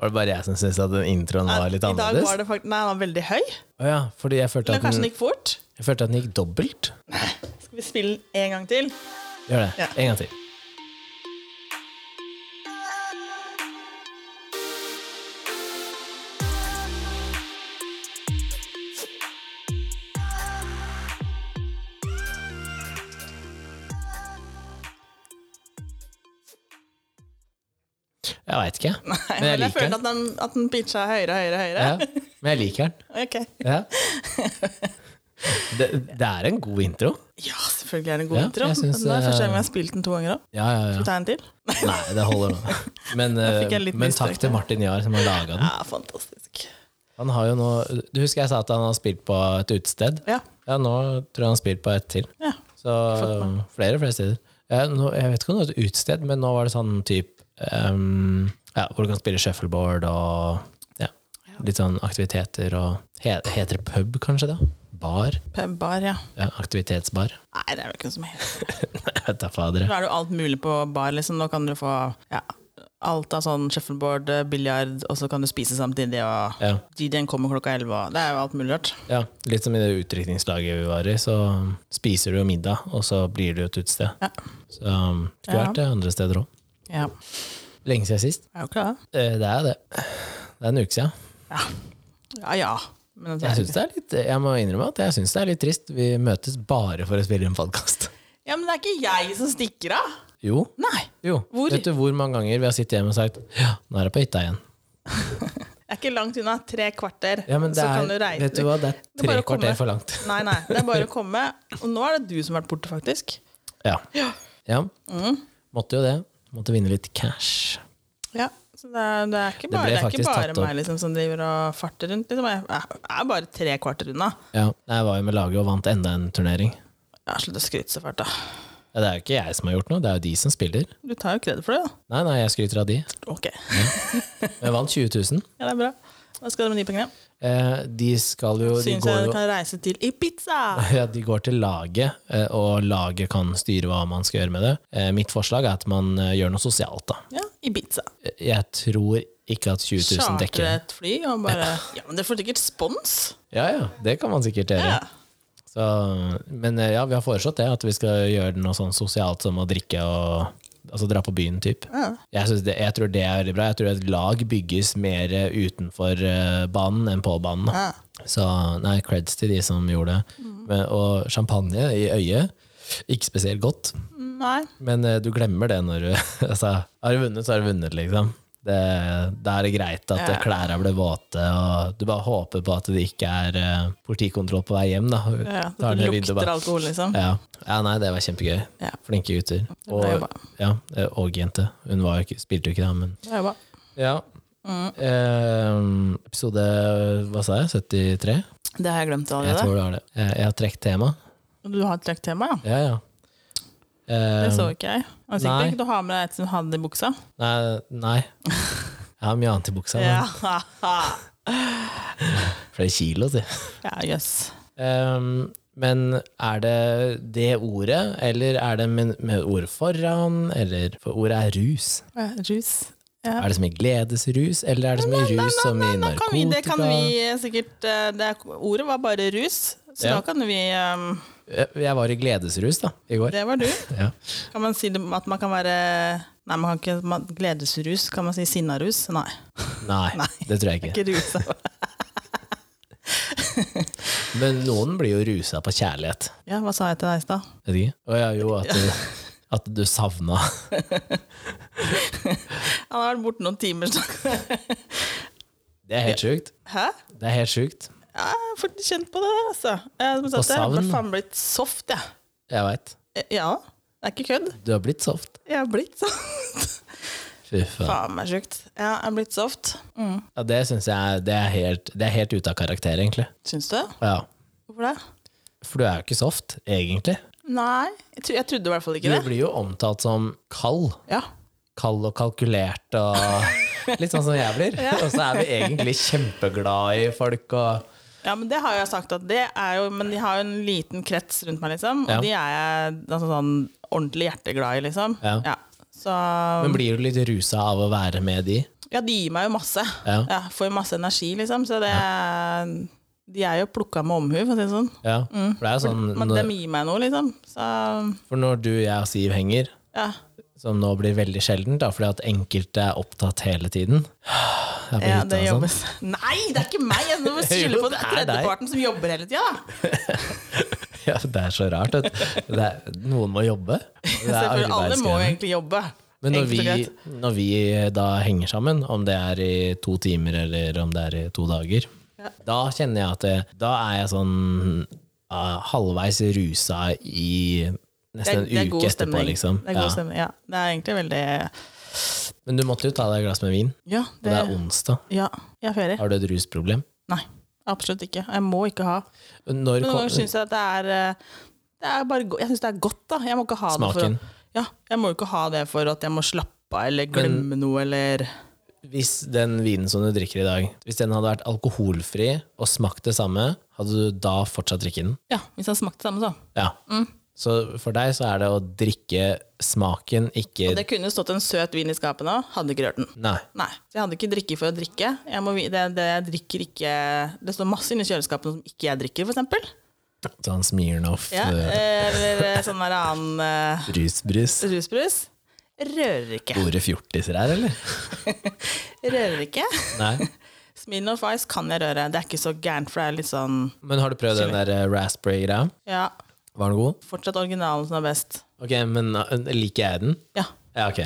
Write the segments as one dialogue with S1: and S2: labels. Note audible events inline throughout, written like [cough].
S1: Var det bare jeg som syntes at den introen var litt
S2: I dag var
S1: annerledes?
S2: det faktisk Nei, den var veldig høy.
S1: Å ja, fordi jeg følte,
S2: Eller
S1: at
S2: kanskje
S1: den,
S2: den gikk fort.
S1: jeg følte at den gikk dobbelt.
S2: Skal vi spille den en gang til?
S1: Gjør det.
S2: Ja.
S1: En gang til. Jeg veit ikke, jeg.
S2: Nei,
S1: Men jeg
S2: men jeg
S1: liker den.
S2: følte at den, at den pitcha høyere og høyere. høyere.
S1: Ja, men jeg liker den.
S2: Ok.
S1: Ja. Det, det er en god intro.
S2: Ja, selvfølgelig er det en god
S1: Ja,
S2: intro.
S1: jeg synes,
S2: Men det er første gang
S1: eh,
S2: jeg har spilt den to ganger òg.
S1: Ja, ja, ja.
S2: Ta en til.
S1: Nei, det holder nå. Men,
S2: fikk jeg litt
S1: eh, men takk
S2: lyst til
S1: til Martin Jahr, som har laga den.
S2: Ja, fantastisk.
S1: Han har jo nå, du husker jeg sa at han har spilt på et utested?
S2: Ja.
S1: Ja, nå tror jeg han har spilt på et til.
S2: ja.
S1: Så flere og flere steder. Ja, nå, jeg vet ikke om det var et utested, men nå var det sånn type ja, Hvor du kan spille shuffleboard og ja, litt sånn aktiviteter og he, Heter det pub, kanskje? da? Bar?
S2: Pubbar, ja.
S1: Ja, aktivitetsbar. [clears throat]
S2: Nei, det er vel ikke noe som helst.
S1: Nei, jeg vet da fader.
S2: Nå er det jo alt mulig på bar, liksom. Nå kan du få ja, alt av sånn shuffleboard, eh, biljard, og så kan du spise samtidig, og
S1: Ja.
S2: DJ-en kommer klokka elleve, og det er jo alt mulig rart.
S1: Ja, litt som i det utdrikningslaget vi var i, så spiser du jo middag, og så blir det jo et utested.
S2: Ja.
S1: Så um, skulle
S2: Ja.
S1: vært det andre steder òg.
S2: Ja.
S1: Lenge siden sist.
S2: Er jo ikke det.
S1: Eh, Det er det. Det er en uke siden.
S2: Ja. Ja, ja. Men at
S1: Jeg, synes det er litt, jeg må innrømme at jeg syns det er litt trist. Vi møtes bare for å spille en podkast.
S2: ja, men det er ikke jeg som stikker av.
S1: [laughs] Jo.
S2: Nei.
S1: jo.
S2: Hvor?
S1: Vet du hvor mange ganger vi har sittet hjemme og sagt ja, nå er jeg på hytta igjen.
S2: Det er ikke langt unna. Tre kvarter.
S1: Ja, men det
S2: så
S1: er,
S2: kan du regne
S1: vet du hva, det er
S2: er
S1: tre
S2: bare å komme.
S1: kvarter for langt.
S2: Nei, nei. Det er bare å komme. Og nå er det du som har vært borte, faktisk.
S1: Ja. ja.
S2: Mm.
S1: Måtte jo det. Måtte vinne litt cash.
S2: Ja, så det er, det er ikke
S1: ble
S2: bare, det er ikke
S1: faktisk
S2: bare
S1: tatt opp.
S2: meg liksom, som driver og farter rundt. Liksom. Jeg jeg er bare tre kvarter unna.
S1: Ja. Jeg var jo med laget og vant enda en turnering.
S2: Ja, Slutt å skryte så fælt, da.
S1: Ja, det er jo ikke jeg som har gjort noe, det er jo de som spiller.
S2: Du tar jo kred for det, da.
S1: Nei, nei, jeg skryter av de.
S2: Ok,
S1: Men Jeg vant 20 000.
S2: ja, det er bra. Hva skal dere med de pengene?
S1: Eh, de skal jo de
S2: Synes
S1: går,
S2: jeg
S1: jo-
S2: dere kan reise til Ibiza!
S1: [laughs] ja, de går til laget, eh, og laget kan styre hva man skal gjøre med det. Eh, mitt forslag er at man eh, gjør noe sosialt, da.
S2: Ja, Ibiza.
S1: Eh, Jeg tror ikke at 20 000 dekker
S2: Charter
S1: det.
S2: et fly og bare Ja, men dere får sikkert spons!
S1: Ja, ja, det kan man sikkert gjøre.
S2: Ja.
S1: Så, men eh, ja, vi har foreslått det, at vi skal gjøre noe sånn sosialt som å drikke og Altså dra på byen, typ.
S2: Ja.
S1: Jeg, synes det, jeg tror det er veldig bra. Jeg tror et lag bygges mer eh, utenfor eh, banen enn på banen. da.
S2: Ja. Mm.
S1: Så nei, creds til de som gjorde det. Men, og champagne i øyet, ikke spesielt godt.
S2: Nei.
S1: Men eh, du glemmer det når du [laughs] altså, Har du vunnet, så har du vunnet, liksom. Det, da er det greit at eh,
S2: Ja.
S1: klærne ble våte, og du bare håper på at det ikke er eh, politikontroll på vei hjem. Da.
S2: Ja,
S1: Tar
S2: det
S1: ned vinduet og bare-
S2: lukter alkohol, liksom.
S1: ja. ja, nei, det var kjempegøy.
S2: Ja.
S1: Flinke gutter.
S2: ble
S1: Og,
S2: jobba.
S1: ja, eh, og jente. Hun var jo ikke, spilte jo ikke, da, men
S2: Det er jo Mm, bra.
S1: Ja. Eh, episode Hva sa jeg? 73?
S2: Det har jeg glemt
S1: Jeg
S2: allerede.
S1: tror det var det. Eh, Jeg har trukket tema.
S2: Du har et trukket tema, ja?
S1: Ja, ja. Eh,
S2: Det så ikke jeg. Og sikkert
S1: nei.
S2: ikke du har med deg et som hadde i buksa.
S1: nei, nei. Jeg har mye annet i buksa.
S2: Ja, [laughs]
S1: men Flere kilo, si.
S2: ja jøss.
S1: Um, men er det det ordet, eller er det med, med ordet foran? Eller, for ordet er rus.
S2: Eh, Rus. Ja.
S1: Er det som i gledesrus, eller er det som i rus som i
S2: Da kan vi,
S1: narkotika?
S2: det kan vi eh, sikkert eh, det, er- Ordet var bare rus, så
S1: Ja.
S2: da kan vi ehm,
S1: Eh, Jeg var i gledesrus da, i går.
S2: Det var du.
S1: Ja.
S2: Kan man si det, at man kan være Nei, man kan ikke man, gledesrus. Kan man si sinnarus? Nei.
S1: Nei, det tror jeg ikke. [laughs]
S2: Ikke rus.
S1: Men noen blir jo rusa på kjærlighet.
S2: Ja, hva sa jeg til deg i stad?
S1: Vet ikke? Å ja, jo, at du, at du savna
S2: Han har vært borte noen timer. Så. [laughs]
S1: Det er helt sjukt.
S2: Hæ?
S1: Det er helt sjukt.
S2: Ja, jeg har fått kjent på det, altså. Jeg, som sagt, jeg har
S1: savn.
S2: blitt- faen blitt soft, jeg.
S1: Jeg veit.
S2: Eh, Ja. Det er ikke kødd.
S1: Du har blitt soft.
S2: Jeg har blitt soft.
S1: Fy faen.
S2: [laughs] Faen meg sjukt. Ja, jeg har blitt soft. Mm.
S1: Ja, det syns jeg er- det er helt, det er helt ute av karakter, egentlig.
S2: Syns du?
S1: Ja.
S2: Hvorfor det?
S1: For du er jo ikke soft, egentlig.
S2: Nei, jeg, tro, jeg trodde i hvert fall
S1: Du
S2: ikke det.
S1: blir jo omtalt som kald.
S2: Ja.
S1: Kald og kalkulert og litt sånn som jeg blir. Og så er vi egentlig kjempeglad i folk og
S2: ja, men det har jeg sagt at det er jo Men de har jo en liten krets rundt meg, liksom. Og
S1: Ja.
S2: de er jeg altså, sånn ordentlig hjerteglad i, liksom.
S1: Ja.
S2: Så
S1: Men blir du litt rusa av å være med de?
S2: Ja, de gir meg jo masse.
S1: Ja,
S2: Ja, får jo masse energi, liksom. Så det er, de er jo plukka med omhu, for å si det sånn.
S1: ja. For det er sånn
S2: Men de
S1: når,
S2: gir meg noe, liksom. Så
S1: For når du, jeg og Siv henger,
S2: ja.
S1: som nå blir veldig sjeldent, da, fordi at enkelte er opptatt hele tiden Jeg er på
S2: ja
S1: hytta
S2: det
S1: og sånn.
S2: jobbes. [laughs] Nei, det er ikke meg! Jeg må skylde
S1: [laughs] Jo,
S2: på
S1: det
S2: den
S1: er deg.
S2: tredjeparten som jobber hele tida, da.
S1: [laughs] Ja, det er så rart. At det er, noen må jobbe. Det er
S2: Selvfølgelig, Alle må jo
S1: arbeidsgreiene.
S2: egentlig jobbe.
S1: Men når
S2: Enkelt
S1: vi,
S2: og greit.
S1: når vi da henger sammen, om det er i to timer eller om det er i to dager, da kjenner jeg at det, da er jeg sånn ah, halvveis rusa i
S2: Det
S1: nesten
S2: er, det er
S1: en
S2: god
S1: uke etterpå,
S2: stemning.
S1: liksom.
S2: Det er god
S1: ja.
S2: stemning, ja. Det er egentlig veldig
S1: Men du måtte jo ta deg et glass med vin,
S2: Ja,
S1: og
S2: det,
S1: det er onsdag.
S2: ja jeg er ferdig.
S1: Har du et rusproblem?
S2: Nei, absolutt ikke. Jeg må ikke ha.
S1: Når
S2: Men noen ganger
S1: kom,
S2: syns jeg at det er eh, det er bare, go- Jeg syns det er godt, da. Jeg må ikke ha
S1: Smaken.
S2: det for, å- ja, jeg må jo ikke ha det for at jeg må slappe av eller glemme noe eller
S1: hvis den vinen som du drikker i dag, hvis den hadde vært alkoholfri og smakt det samme, hadde du da fortsatt drikke den?
S2: Ja, hvis den smakte det samme, så.
S1: Ja.
S2: Mm.
S1: Så for deg så er det å drikke smaken, ikke
S2: Det kunne stått en søt vin i skapet nå, hadde ikke rørt den.
S1: Nei.
S2: Nei, så jeg hadde ikke drikke for å drikke. Jeg må, vi- det, det, jeg drikker ikke, det står masse inni kjøleskapene som ikke jeg drikker, for eksempel.
S1: Sånn Smirnoff
S2: Ja,
S1: eh,
S2: eller eh, sånn der annen eh,
S1: rusbrus.
S2: rusbrus. Rører ikke.
S1: Ordet fjortiser her,
S2: [laughs]
S1: eller?
S2: Rører ikke.
S1: Nei.
S2: Smirnoff Ice kan jeg røre. Det er ikke så gærent, for det er litt sånn
S1: Men har du prøvd den der eh, raspberry-greia?
S2: Ja,
S1: Var den god?
S2: fortsatt originalen som er best.
S1: Ok, men eh, liker jeg den?
S2: Ja.
S1: Ja, ok.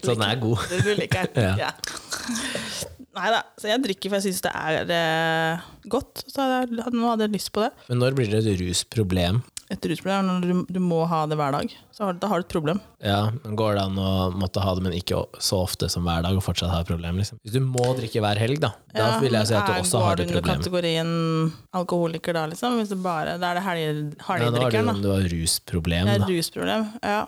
S1: Så den er god.
S2: Mm, Du liker den.
S1: Sånn. Ja.
S2: Ja. Nei da, så jeg drikker for jeg syns det er eh, godt. Så hadde jeg, nå hadde jeg lyst på det.
S1: Men når blir det et rusproblem?
S2: Et rusproblem er når du, du må ha det hver dag. Så har, da har du et problem.
S1: Ja, men Går det an å måtte ha det, men ikke så ofte som hver dag, og fortsatt ha et problem? Liksom? Hvis du må drikke hver helg, da, da
S2: Ja,
S1: vil jeg si at
S2: men
S1: du
S2: er-
S1: også har
S2: går
S1: det
S2: du under
S1: problemet.
S2: kategorien alkoholiker da, liksom? Hvis det bare Da er det helg-
S1: Nei, nå er det jo
S2: helgdrikkeren,
S1: om
S2: da.
S1: du har rusproblem,
S2: Det er
S1: da.
S2: et rusproblem. Ja.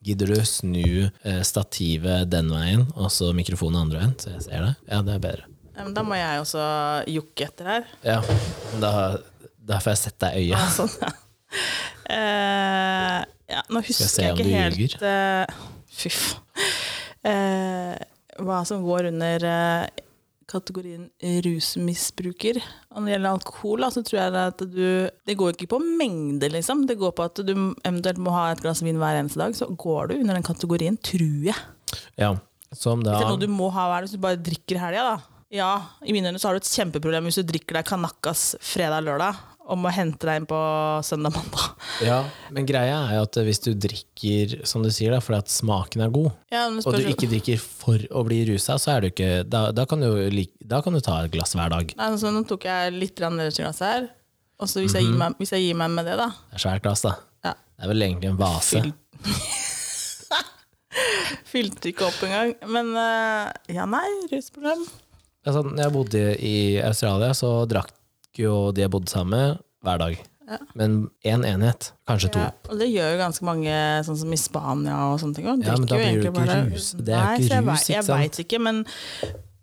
S1: Gidder du snu eh, stativet den veien, og så mikrofonen andre veien, så jeg ser det? Ja, det er bedre.
S2: Ja, men Da må jeg også jukke etter her.
S1: Ja, men da, da får jeg sett deg
S2: [laughs]
S1: i øyet.
S2: Ja, sånn, ja. Eh, ja, nå husker
S1: se
S2: jeg
S1: om
S2: ikke
S1: du
S2: helt
S1: ljuger.
S2: eh, Fy faen. Eh, hva som går under eh, kategorien rusmisbruker. Og når det gjelder alkohol, da, så tror jeg at du Det går ikke på mengde, liksom. Det går på at du eventuelt må ha et glass vin hver eneste dag. Så går du under den kategorien, tror jeg.
S1: Ja, som da
S2: Det er noe du må ha hver dag hvis du bare drikker i helga, da. Ja, i mine øyne så har du et kjempeproblem hvis du drikker deg kanakas fredag-lørdag og må hente deg inn på søndag-mandag.
S1: ja, Men greia er jo at hvis du drikker, som du sier, da, fordi at smaken er god,
S2: Ja, men
S1: og du
S2: spørs-
S1: ikke drikker for å bli rusa, så er du ikke Da, da, kan, du, lik- da kan du ta et glass hver dag.
S2: Nei, så nå tok jeg litt grann deres glass her. Og så hvis, jeg
S1: Mhm.
S2: gir meg- hvis jeg gir meg med det, da
S1: Det er svært glass, da.
S2: ja.
S1: Det er vel egentlig en vase.
S2: Fyll- [laughs] Fylte ikke opp engang. Men eh, ja, nei, rusproblem.
S1: Altså, når jeg bodde i Australia, så drakk jo de jeg bodde sammen med, hver dag. Men én enhet, kanskje to.
S2: Ja, og det gjør jo ganske mange, sånn som i Spania og sånne ting. Og
S1: Ja, men da
S2: drikker jo
S1: blir det jo ikke
S2: egentlig bare-
S1: rus. Det er
S2: Nei,
S1: ikke
S2: så jeg
S1: rus,
S2: vet-
S1: ikke
S2: Jeg
S1: sant?
S2: veit ikke, men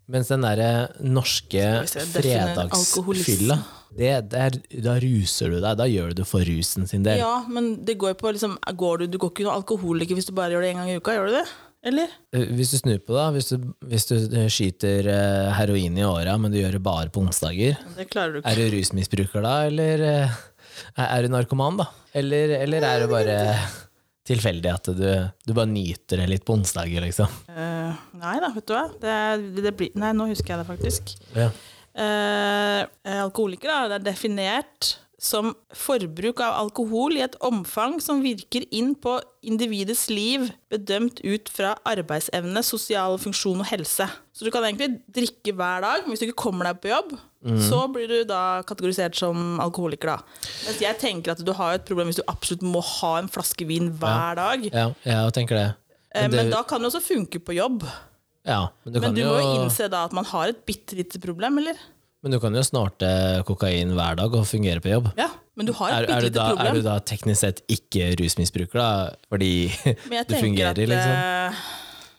S1: Mens den derre norske
S2: Skal vi se, definer
S1: fredagsfylla, det, det er, da ruser du deg. Da gjør du det for rusen sin del.
S2: Ja, men det går jo på liksom, går du, du går ikke noe alkoholiker hvis du bare gjør det én gang i uka, gjør du det? Eller?
S1: Eh, Hvis du snur på det, da, hvis du, hvis du eh, skyter eh, heroin i åra, men du gjør det bare på onsdager,
S2: Det klarer du ikke.
S1: er du rusmisbruker da, eller eh, er er du narkoman, da? Eller, eller er det bare tilfeldig at du, du bare nyter det litt på onsdager, liksom?
S2: Eh, nei da, vet du hva. Det, det blir, nei, nå husker jeg det faktisk.
S1: Ja.
S2: Eh, alkoholiker da, det er definert som forbruk av alkohol i et omfang som virker inn på individets liv, bedømt ut fra arbeidsevne, sosial funksjon og helse. Så du kan egentlig drikke hver dag, men hvis du ikke kommer deg på jobb,
S1: Mm.
S2: så blir du da kategorisert som alkoholiker. da. Mens jeg tenker at du har et problem hvis du absolutt må ha en flaske vin hver dag.
S1: ja, jeg tenker det.
S2: Eh,
S1: Men, det,
S2: men da kan det også funke på jobb.
S1: ja, men du, kan
S2: Men du
S1: jo,
S2: må jo innse da at man har et bitte lite problem, eller?
S1: men du kan jo snorte kokain hver dag og fungere på jobb.
S2: Ja, men du har
S1: Er,
S2: et
S1: er,
S2: bitte
S1: du da,
S2: lite problem.
S1: er du da teknisk sett ikke rusmisbruker, da? Fordi
S2: Men
S1: [laughs] det
S2: jeg tenker
S1: fungerer,
S2: at,
S1: liksom?
S2: eh,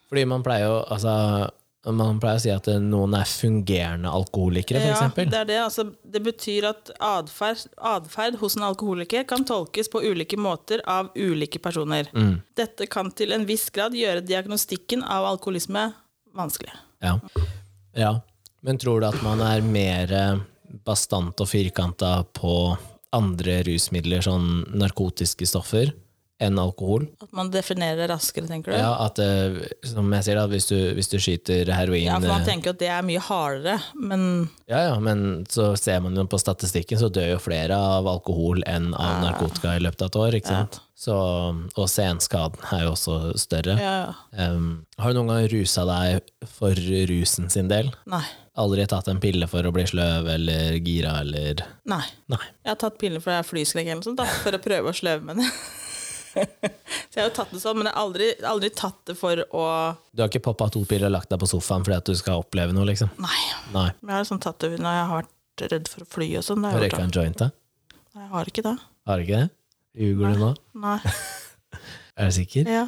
S1: Fordi man pleier jo altså, Man pleier å si at eh, noen er fungerende alkoholikere, for
S2: ja,
S1: eksempel.
S2: det, er det, altså, det betyr at atferd, atferd hos en alkoholiker kan tolkes på ulike måter av ulike
S1: Mm.
S2: personer. Dette kan til en viss grad gjøre diagnostikken av alkoholisme vanskelig.
S1: Ja. ja. Men tror du at man er mer eh, bastant og firkanta på andre rusmidler, sånn narkotiske stoffer, enn alkohol?
S2: At man definerer det raskere, tenker du?
S1: Ja, at eh, som jeg sier, da, hvis du, hvis du skyter heroin
S2: Ja, for
S1: eh,
S2: man tenker jo at det er mye hardere, men
S1: ja, ja, men så ser man jo på statistikken, så dør jo flere av alkohol enn
S2: Ah.
S1: av narkotika i løpet av et år, ikke sant? Så, og senskaden er jo også større.
S2: ja, ja.
S1: Em, har du noen gang rusa deg for rusen sin del?
S2: Nei.
S1: Aldri tatt en pille for å bli sløv eller gira eller
S2: Nei.
S1: Nei.
S2: Jeg har tatt piller for jeg er flyskrekk eller noe sånt, da, for å prøve å sløve med det. [laughs] Så jeg har jo tatt det sånn, men jeg har aldri, aldri tatt det for å
S1: Du har ikke poppa to piller og lagt deg på sofaen fordi at du skal oppleve noe, liksom?
S2: Nei.
S1: Nei.
S2: Men jeg har liksom tatt det når jeg har vært redd for å fly og sånn. da
S1: Har
S2: har
S1: du
S2: jeg gjort
S1: røyka en joint, da?
S2: det. Nei, Jeg har ikke det.
S1: Har du ikke det? Ljuger du nå?
S2: Nei. [laughs]
S1: Er du sikker?
S2: Ja,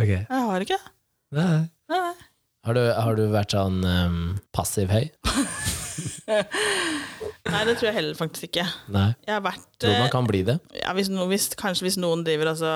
S1: Ok.
S2: jeg har ikke det.
S1: Nei.
S2: Nei, nei.
S1: Har du, har du vært sånn em, passiv høy?
S2: Nei, det tror jeg heller faktisk ikke.
S1: Nei.
S2: Jeg har vært
S1: Tror du man kan bli det?
S2: eh, ja, hvis no, hvis, Kanskje hvis noen driver altså,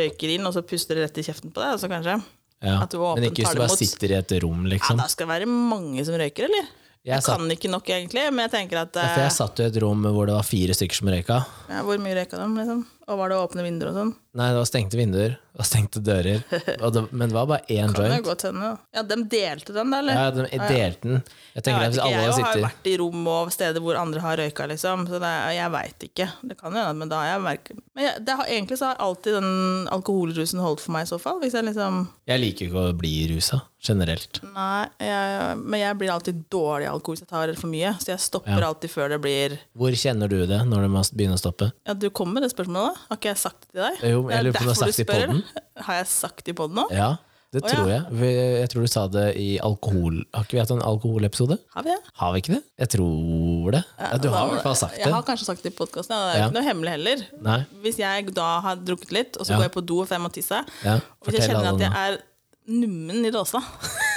S2: røyker inn, og så puster det rett i kjeften på deg, altså kanskje.
S1: Ja.
S2: At du åpent
S1: Men ikke hvis
S2: tar
S1: du
S2: det
S1: bare
S2: imot.
S1: sitter i et rom,
S2: Ja,
S1: liksom.
S2: da skal det være mange som røyker, eller?
S1: Jeg
S2: Jeg
S1: satt,
S2: kan ikke nok, egentlig, men jeg tenker at
S1: ja,
S2: eh,
S1: for jeg satt i et rom hvor det var fire stykker som røyka.
S2: ja, Hvor mye røyka de, liksom? Og var det åpne vinduer og sånn?
S1: Nei, det var stengte vinduer og stengte dører. Og det, men det var bare én
S2: Kan jo
S1: joint.
S2: godt hende. Ja, de delte den, da, eller?
S1: Ja, de delte den. Jeg tenker at
S2: jeg, vet
S1: hvis
S2: ikke,
S1: alle
S2: jeg har jo
S1: sitter
S2: vært i rom og steder hvor andre har røyka, liksom. Så det, er- jeg veit ikke. Det kan jo hende, men da har jeg merket Men jeg, det har, egentlig så har alltid den alkoholrusen holdt for meg, i så fall. Hvis jeg liksom
S1: Jeg liker jo ikke å bli rusa, generelt.
S2: Nei, jeg, men jeg blir alltid dårlig av alkohol hvis jeg tar for mye. Så jeg stopper alltid før det blir
S1: Hvor kjenner du det når du må begynne å stoppe?
S2: Ja, du kom med det spørsmålet, da. Har ikke jeg sagt det til deg?
S1: Jo,
S2: Det er
S1: jeg lurer på om du har
S2: derfor
S1: sagt det i podden.
S2: Har jeg sagt det i podden nå?
S1: Ja, det
S2: Å,
S1: tror
S2: ja.
S1: jeg. Vi- Jeg tror du sa det i alkohol... Har ikke vi hatt en alkoholepisode?
S2: Har vi det?
S1: Har vi ikke det? Jeg tror det. Ja, du har i hvert fall sagt
S2: Jeg
S1: det.
S2: har kanskje sagt det i podkasten, ja. det er
S1: Ja.
S2: jo ikke noe hemmelig heller.
S1: Nei,
S2: Hvis jeg da har drukket litt, og så
S1: Ja.
S2: går jeg på do for jeg må tisse,
S1: ja.
S2: og hvis
S1: Fortell
S2: jeg kjenner
S1: alle nå.
S2: at jeg er nummen i dåsa,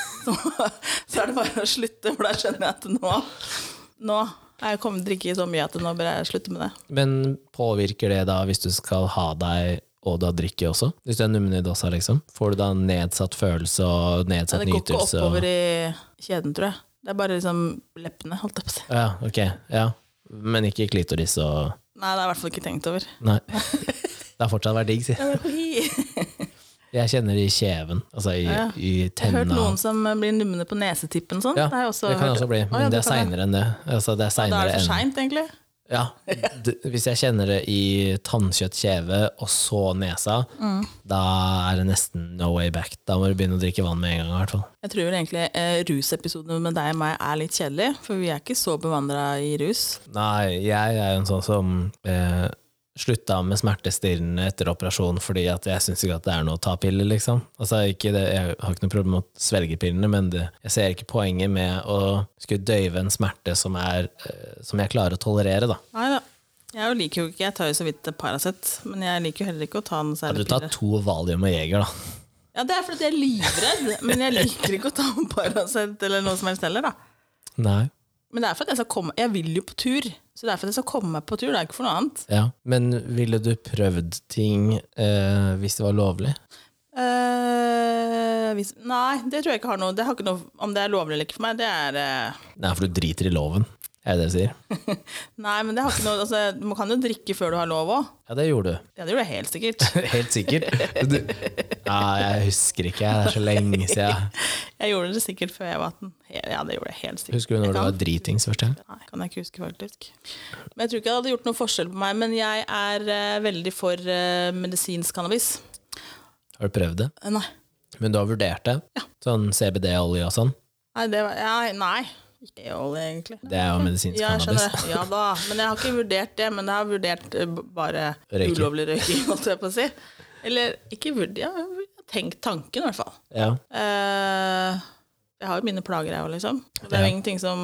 S2: [laughs] så, så er det bare å slutte, for da skjønner jeg at nå Nå er jeg kommet til å drikke så mye at nå bør jeg slutte med det.
S1: Men påvirker det da hvis du skal ha deg og da drikke også? Hvis du er nummen i dåsa, liksom? Får du da nedsatt følelse og
S2: Ja,
S1: nedsatt
S2: det går ikke
S1: nytelse? og-
S2: oppover i kjeden, tror jeg. Det er bare liksom leppene, holdt jeg på å si.
S1: Ja, ok. Ja. Men ikke klitoris og
S2: Nei, det har jeg i hvert fall ikke tenkt over.
S1: [laughs] Nei. Det har fortsatt vært digg, si.
S2: Jeg
S1: Jeg kjenner det i kjeven, altså i,
S2: Ja.
S1: i
S2: har hørt
S1: tenna.
S2: noen som eh, blir numne på nesetippen og sånn.
S1: Ja,
S2: det, har jeg også
S1: det kan
S2: hørt.
S1: også bli,
S2: Å, ja,
S1: men det er
S2: kan jeg.
S1: seinere enn det. Altså, det er
S2: Da
S1: senere
S2: er det for
S1: enn,
S2: seint, egentlig. [laughs]
S1: ja, d hvis jeg kjenner det i tannkjøtt, kjeve og så nesa,
S2: Mm.
S1: da er det nesten no way back. Da må du begynne å drikke vann med en gang. i hvert fall.
S2: Jeg tror vel egentlig eh, rusepisoden med deg og meg er litt kjedelig, for vi er ikke så bevandra i rus.
S1: Nei, jeg er jo en sånn som eh, slutta med smertestillende etter operasjon fordi at jeg syns ikke at det er noe å ta piller, liksom. Altså, ikke det, jeg har ikke noe problem med å svelge pillene, men det, jeg ser ikke poenget med å skulle døyve en smerte som, er, eh, som jeg klarer å tolerere, da.
S2: Nei da. Jeg jo liker jo ikke Jeg tar jo så vidt Paracet, men jeg liker jo heller ikke å ta noe
S1: Hadde
S2: særlig
S1: du tatt
S2: piller.
S1: to Valium og Jeger, da?
S2: Ja, det er fordi jeg er livredd, men jeg liker ikke å ta Paracet eller noe som helst heller, da.
S1: Nei.
S2: Men det er for at jeg skal komme Jeg vil jo på tur, så det er for at jeg skal komme meg på tur. Det er ikke for noe annet.
S1: Ja. Men ville du prøvd ting eh, hvis det var lovlig?
S2: Eh, hvis, nei, det tror jeg ikke har noe Det har ikke noe Om det er lovlig eller ikke for meg, det er eh,
S1: Nei, for du driter i loven, er det det du sier?
S2: Nei, men det har ikke noe altså, Man kan jo drikke før du har lov òg.
S1: Ja, det gjorde du.
S2: Ja, det gjorde jeg helt sikkert.
S1: [laughs] Helt sikkert. Du... Nei, jeg husker ikke, det er så lenge siden.
S2: Jeg gjorde det sikkert før jeg var 18. He- Ja, det gjorde jeg helt sikkert.
S1: Husker du
S2: Jeg
S1: når du
S2: kan-
S1: var dritings første gang?
S2: Nei, kan jeg ikke huske faktisk. Men jeg tror ikke det hadde gjort noen forskjell på meg, men jeg er eh, veldig for eh, medisinsk cannabis.
S1: Har du prøvd det?
S2: Eh, Nei.
S1: Men du har vurdert det? Sånn CBD-olje og sånn?
S2: Nei, det var, ja, nei. Ikke olje, egentlig.
S1: Det er jo medisinsk
S2: Ja, jeg skjønner
S1: cannabis.
S2: det. Ja da. Men jeg har ikke vurdert det, men jeg har vurdert eh, b- bare
S1: Røyking.
S2: ulovlig røyking, [laughs] holdt jeg på å si. Eller ikke vurdert, jeg har tenkt tanken i hvert fall.
S1: Ja.
S2: Eh, jeg har jo mine plager, jeg òg, liksom. Det er
S1: Ja.
S2: jo ingenting som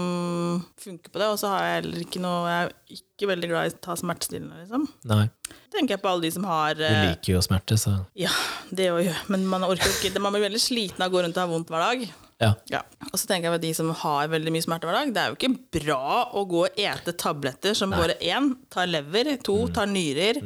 S2: funker på det. Og så har jeg heller ikke noe Jeg er ikke veldig glad i å ta smertestillende, liksom.
S1: Nei,
S2: Tenker jeg på alle de som har
S1: du
S2: eh,
S1: liker jo smerte, så
S2: Ja, det òg, men man orker jo ikke. Man blir veldig sliten av å gå rundt og ha vondt hver dag.
S1: Ja.
S2: Ja. Og så tenker jeg at de som har veldig mye smertehverdag, det er jo ikke bra å gå og ete tabletter som bare én tar lever, to
S1: Mm.
S2: tar nyrer.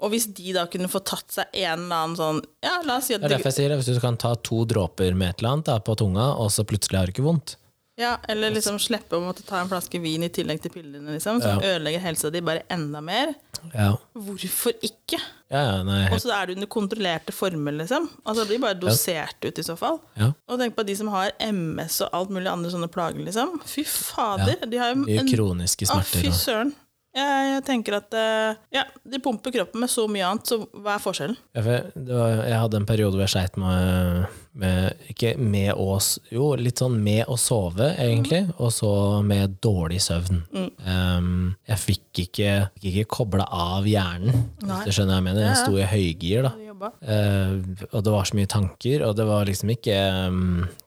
S2: Og hvis de da kunne få tatt seg en eller annen sånn Ja, la oss si at
S1: Det er derfor jeg sier det. Hvis du kan ta to dråper med et eller annet da, på tunga, og så plutselig har du ikke vondt.
S2: Ja, eller liksom slippe å måtte ta en flaske vin i tillegg til pillene, liksom. Som ødelegger helsa di bare enda mer.
S1: Ja,
S2: Hvorfor ikke?
S1: ja, ja nei,
S2: Og så er det under kontrollerte former, liksom. Altså det blir bare dosert ut i så fall.
S1: Ja.
S2: Og tenk på de som har MS og alt mulig andre sånne plager, liksom. Fy fader! De har jo
S1: mye kroniske
S2: Å,
S1: smerter.
S2: fy
S1: og-
S2: søren. Jeg, jeg tenker at eh, Ja, de pumper kroppen med så mye annet, så hva er forskjellen?
S1: Ja, for jeg- det var, jeg hadde en periode hvor jeg sleit med, med Ikke med å s- Jo, litt sånn med å sove, egentlig, og så med dårlig søvn. Um, jeg fikk ikke, fikk ikke kobla av hjernen,
S2: Nei.
S1: hvis du skjønner hva jeg mener. Jeg sto i høygir, da.
S2: Har de jobba?
S1: Eh, og det var så mye tanker, og det var liksom ikke um,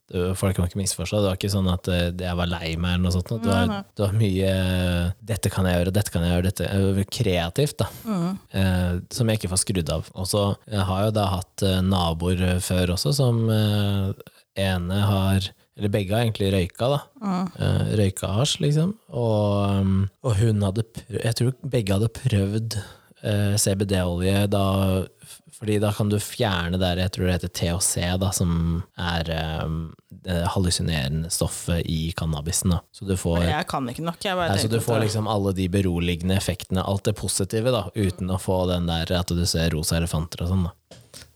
S1: det var- Folk må ikke misforstå. Det var ikke sånn at eh, jeg var lei meg eller noe sånt. Det var, det var mye eh, 'dette kan jeg gjøre, dette kan jeg gjøre', dette eh, kreativt, da. Eh, som jeg ikke får skrudd av. Og så jeg har jo da hatt eh, naboer eh, før også som eh, ene har eller begge har egentlig røyka, da. Eh, røyka hasj, liksom. Og, um, og hun hadde prøvd Jeg tror begge hadde prøvd eh, CBD-olje da f- fordi da kan du fjerne der jeg tror det heter THC, da, som er um, det hallusinerende stoffet i cannabisen. Da. Så du får
S2: Jeg kan ikke nok. Jeg bare
S1: Nei, så
S2: tenker
S1: du
S2: at
S1: får
S2: det-
S1: liksom alle de beroligende effektene, alt det positive, da, uten å få den der at du ser rosa elefanter og sånn, da.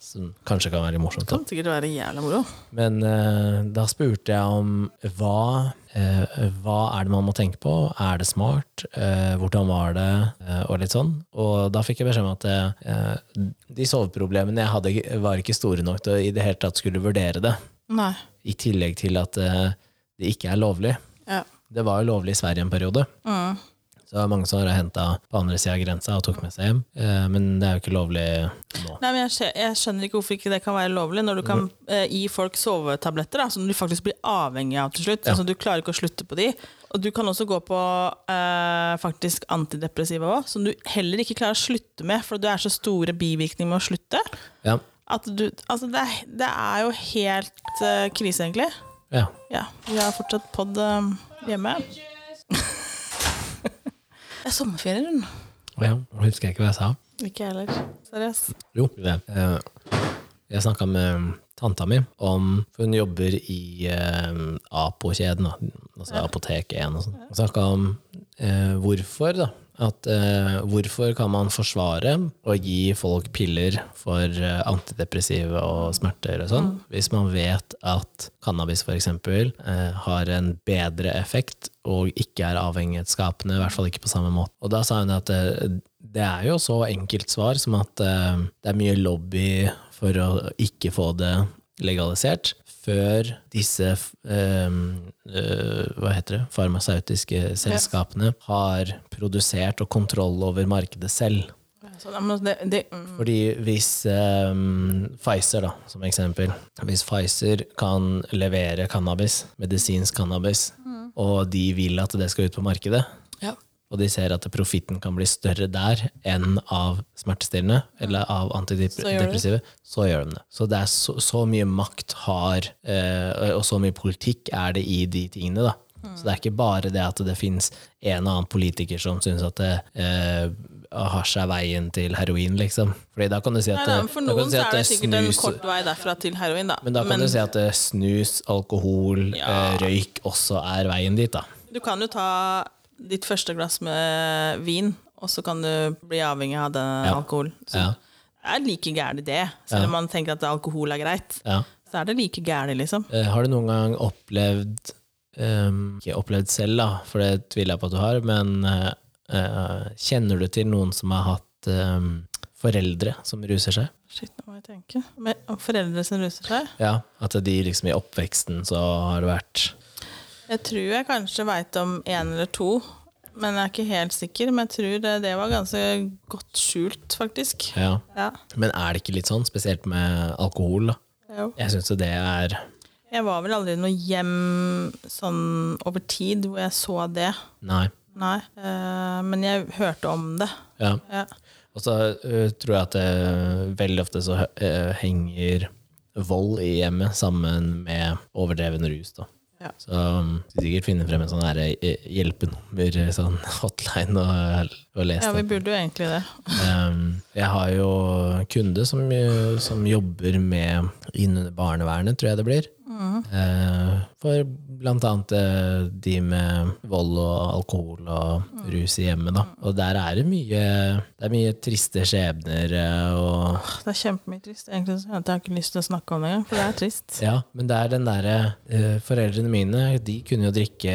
S1: Som kanskje kan være litt morsomt.
S2: Det
S1: Da.
S2: kan sikkert være jævla moro.
S1: Men eh, da spurte jeg om hva, eh, hva er det man må tenke på? Er det smart? Eh, hvordan var det? Eh, og litt sånn. Og da fikk jeg beskjed om at eh, de soveproblemene jeg hadde, var ikke store nok til å i det hele tatt skulle vurdere det.
S2: Nei.
S1: I tillegg til at eh, det ikke er lovlig.
S2: Ja.
S1: Det var jo lovlig i Sverige en periode.
S2: Mm.
S1: Så det er mange som har henta på andre sida av grensa og tok med seg hjem. Eh, men det er jo ikke lovlig nå.
S2: Nei, men jeg, skje- jeg skjønner ikke hvorfor ikke det kan være lovlig når du kan eh, gi folk sovetabletter da, som du faktisk blir avhengig av til slutt. Altså, du klarer ikke å slutte på de. Og du kan også gå på eh, faktisk antidepressiva òg, som du heller ikke klarer å slutte med, for du er så store bivirkninger med å slutte.
S1: Ja.
S2: At du, altså det, er- det er jo helt eh, krise, egentlig.
S1: ja.
S2: Ja, vi har fortsatt pod eh, hjemme. [laughs] det er sommerferie, hun.
S1: Og ja. Nå husker jeg ikke hva jeg sa.
S2: Ikke jeg heller. Seriøst.
S1: Jo, det. Eh, jeg snakka med tanta mi om For hun jobber i eh, Apo-kjeden, da. altså Apotek 1 og sånn. Og Snakka om eh, hvorfor, da. At eh, hvorfor kan man forsvare å gi folk piller for eh, antidepressive og smerter og sånn, hvis man vet at cannabis f.eks. Eh, har en bedre effekt og ikke er avhengighetsskapende, i hvert fall ikke på samme måte. Og da sa hun at eh, det er jo så enkelt svar som at eh, det er mye lobby for å ikke få det legalisert før disse f- ehm, eh, hva heter det, farmasautiske selskapene har produsert og kontroll over markedet selv.
S2: Så, da må det, det, mm.
S1: Fordi hvis ehm, Pfizer, da, som eksempel Hvis Pfizer kan levere cannabis, medisinsk cannabis, og de vil at det skal ut på markedet,
S2: ja.
S1: og de ser at profitten kan bli større der enn av smertestillende eller av
S2: Så gjør de
S1: antidepressive, så gjør de det. Så det er så, så mye makt har, eh, og så mye politikk er det i de tingene, da.
S2: Hmm.
S1: Så det er ikke bare det at det finnes en og annen politiker som syns at det eh, hasj er veien til heroin, liksom. Fordi da kan du si at,
S2: Nei, nei, men for
S1: da kan du
S2: noen
S1: si
S2: så
S1: at
S2: er det sikkert en
S1: snus-
S2: kort vei derfra til heroin, da.
S1: Men da kan du si at eh, snus, alkohol, eh, røyk også er veien dit, da.
S2: du kan jo ta ditt første glass med vin, og så kan du bli avhengig av den alkoholen. Så
S1: Ja.
S2: Det er like gærent det, selv om man tenker at alkohol er greit.
S1: Ja.
S2: Så er det like gærent, liksom.
S1: Eh, Har du noen gang opplevd ehm, Ikke opplevd selv, da, for det tviler jeg på at du har, men eh, eh, kjenner du til noen som har hatt ehm, foreldre som ruser seg?
S2: Shit, nå må jeg tenke. Men om foreldre som ruser seg?
S1: Ja, At de liksom i oppveksten så har det vært
S2: Jeg tror jeg kanskje veit om én eller to, men jeg er ikke helt sikker. Men jeg tror det, det var ganske godt skjult, faktisk.
S1: Ja.
S2: Ja.
S1: Men er det ikke litt sånn, spesielt med alkohol? da?
S2: Jo.
S1: Jeg syns jo det er
S2: Jeg var vel aldri i noe hjem sånn over tid hvor jeg så det.
S1: Nei.
S2: Nei. Eh, men jeg hørte om det.
S1: Ja.
S2: Ja.
S1: Og så eh, tror jeg at eh, veldig ofte så eh, henger vold i hjemmet sammen med overdreven rus. da.
S2: Ja.
S1: Så um, skal sikkert finne frem en sånn her, eh, hjelpenummer, eh, sånn [laughs] hotline, og, eh, og lese
S2: Ja, vi
S1: den.
S2: burde jo egentlig det.
S1: Um, jeg har jo en kunde som, jo- som jobber med innunder barnevernet, tror jeg det blir.
S2: Mm.
S1: Eh, for blant annet eh, de med vold og alkohol og
S2: Mm.
S1: rus i hjemmet, da. Og der er det mye, det er mye triste skjebner eh, og
S2: Det er kjempemye trist. Egentlig så jeg har ikke lyst til å snakke om det engang, for det er trist.
S1: Ja, men det er den derre eh, Foreldrene mine de kunne jo drikke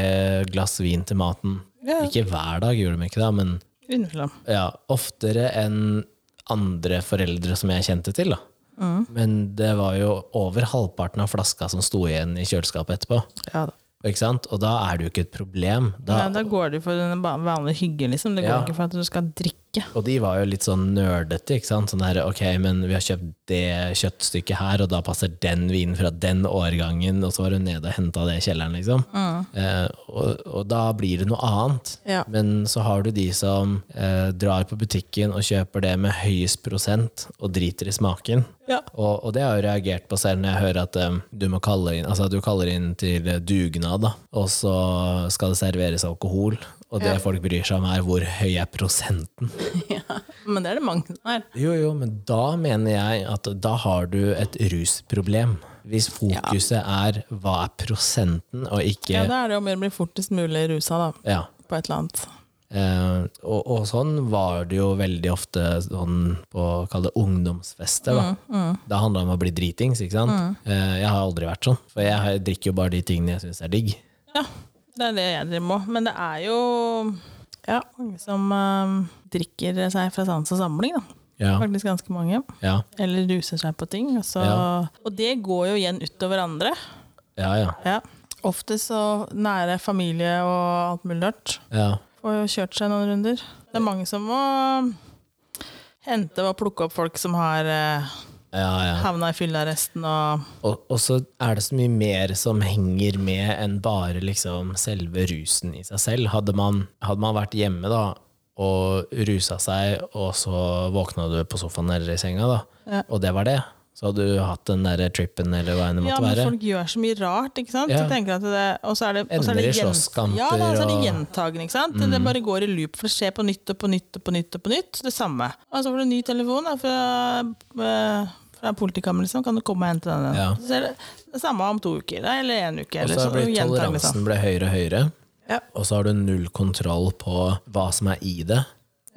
S1: glass vin til maten.
S2: Ja.
S1: Ikke hver dag, gjorde de ikke det, men
S2: Innimellom.
S1: ja, oftere enn andre foreldre som jeg kjente til. da.
S2: Mm.
S1: Men det var jo over halvparten av flaska som sto igjen i kjøleskapet etterpå.
S2: Ja da.
S1: Ikke sant? Og da er det jo ikke et problem. Da,
S2: Nei, da går det jo for den ba- vanlige hygge, liksom. Det går
S1: Ja.
S2: ikke for at du skal drikke.
S1: Og de var jo litt sånn nerdete. ikke sant? Sånn der, ok, men vi har kjøpt det kjøttstykket her, og da passer den vinen fra den årgangen. Og så var hun nede og henta det i kjelleren, liksom.
S2: Mm.
S1: Eh, og, og da blir det noe annet.
S2: Ja.
S1: Men så har du de som eh, drar på butikken og kjøper det med høyest prosent, og driter i smaken.
S2: Ja.
S1: Og, og det har jeg reagert på selv når jeg hører at eh, du, må kalle inn, altså, du kaller inn til eh, dugnad, da, og så skal det serveres alkohol. Og det folk bryr seg om, er hvor høy er prosenten.
S2: Men det er det mange som er.
S1: Jo, jo, men da mener jeg at da har du et rusproblem. Hvis fokuset er hva er prosenten, og ikke
S2: Ja,
S1: Ja.
S2: da er det jo om å gjøre å bli fortest mulig rusa, da. På et eller annet.
S1: Eh, og, og sånn var det jo veldig ofte sånn på kall det ungdomsfester. Da Da handla det om å bli dritings. ikke sant? Eh, jeg har aldri vært sånn, for jeg har- drikker jo bare de tingene jeg syns er digg.
S2: Ja, det er det jeg driver med. Men det er jo ja, mange som eh, drikker seg fra sans og samling, da.
S1: Ja,
S2: Faktisk ganske mange.
S1: ja,
S2: Eller ruser seg på ting. Og, så,
S1: Ja.
S2: og det går jo igjen utover andre.
S1: ja. ja,
S2: Ja. Ofte så nære familie og alt mulig rart.
S1: ja.
S2: Får jo kjørt seg noen runder. Det er mange som må eh, hente og plukke opp folk som har eh,
S1: ja, ja.
S2: havna i fyllearresten og
S1: Og, og så er det så mye mer som henger med enn bare liksom selve rusen i seg selv. Hadde man, hadde man vært hjemme da, og rusa seg, og så våkna du på sofaen eller i senga, da,
S2: Ja.
S1: og det var det, så hadde du hatt den der trippen eller hva enn det
S2: Ja,
S1: måtte
S2: men
S1: være.
S2: folk gjør så mye rart, ikke sant?
S1: Ja.
S2: Jeg tenker at det, og så er det, og så er
S1: Ender
S2: det
S1: i
S2: gjent-
S1: slåsskamper
S2: Ja, da, så er det
S1: og- Mm.
S2: gjentagende, ikke sant? Det bare går i loop, for det skjer på nytt og på nytt og på nytt og på nytt, det samme. Og så får du en ny telefon da, fra, eh, fra politikammeret, liksom, kan du komme og hente den? den?
S1: Ja.
S2: Så er det det samme om to uker, da, eller en uke,
S1: Og
S2: eller
S1: så
S2: så
S1: blir
S2: gjentagende,
S1: toleransen
S2: sånn.
S1: ble høyere og høyere,
S2: Ja.
S1: og så har du null kontroll på hva som er i det.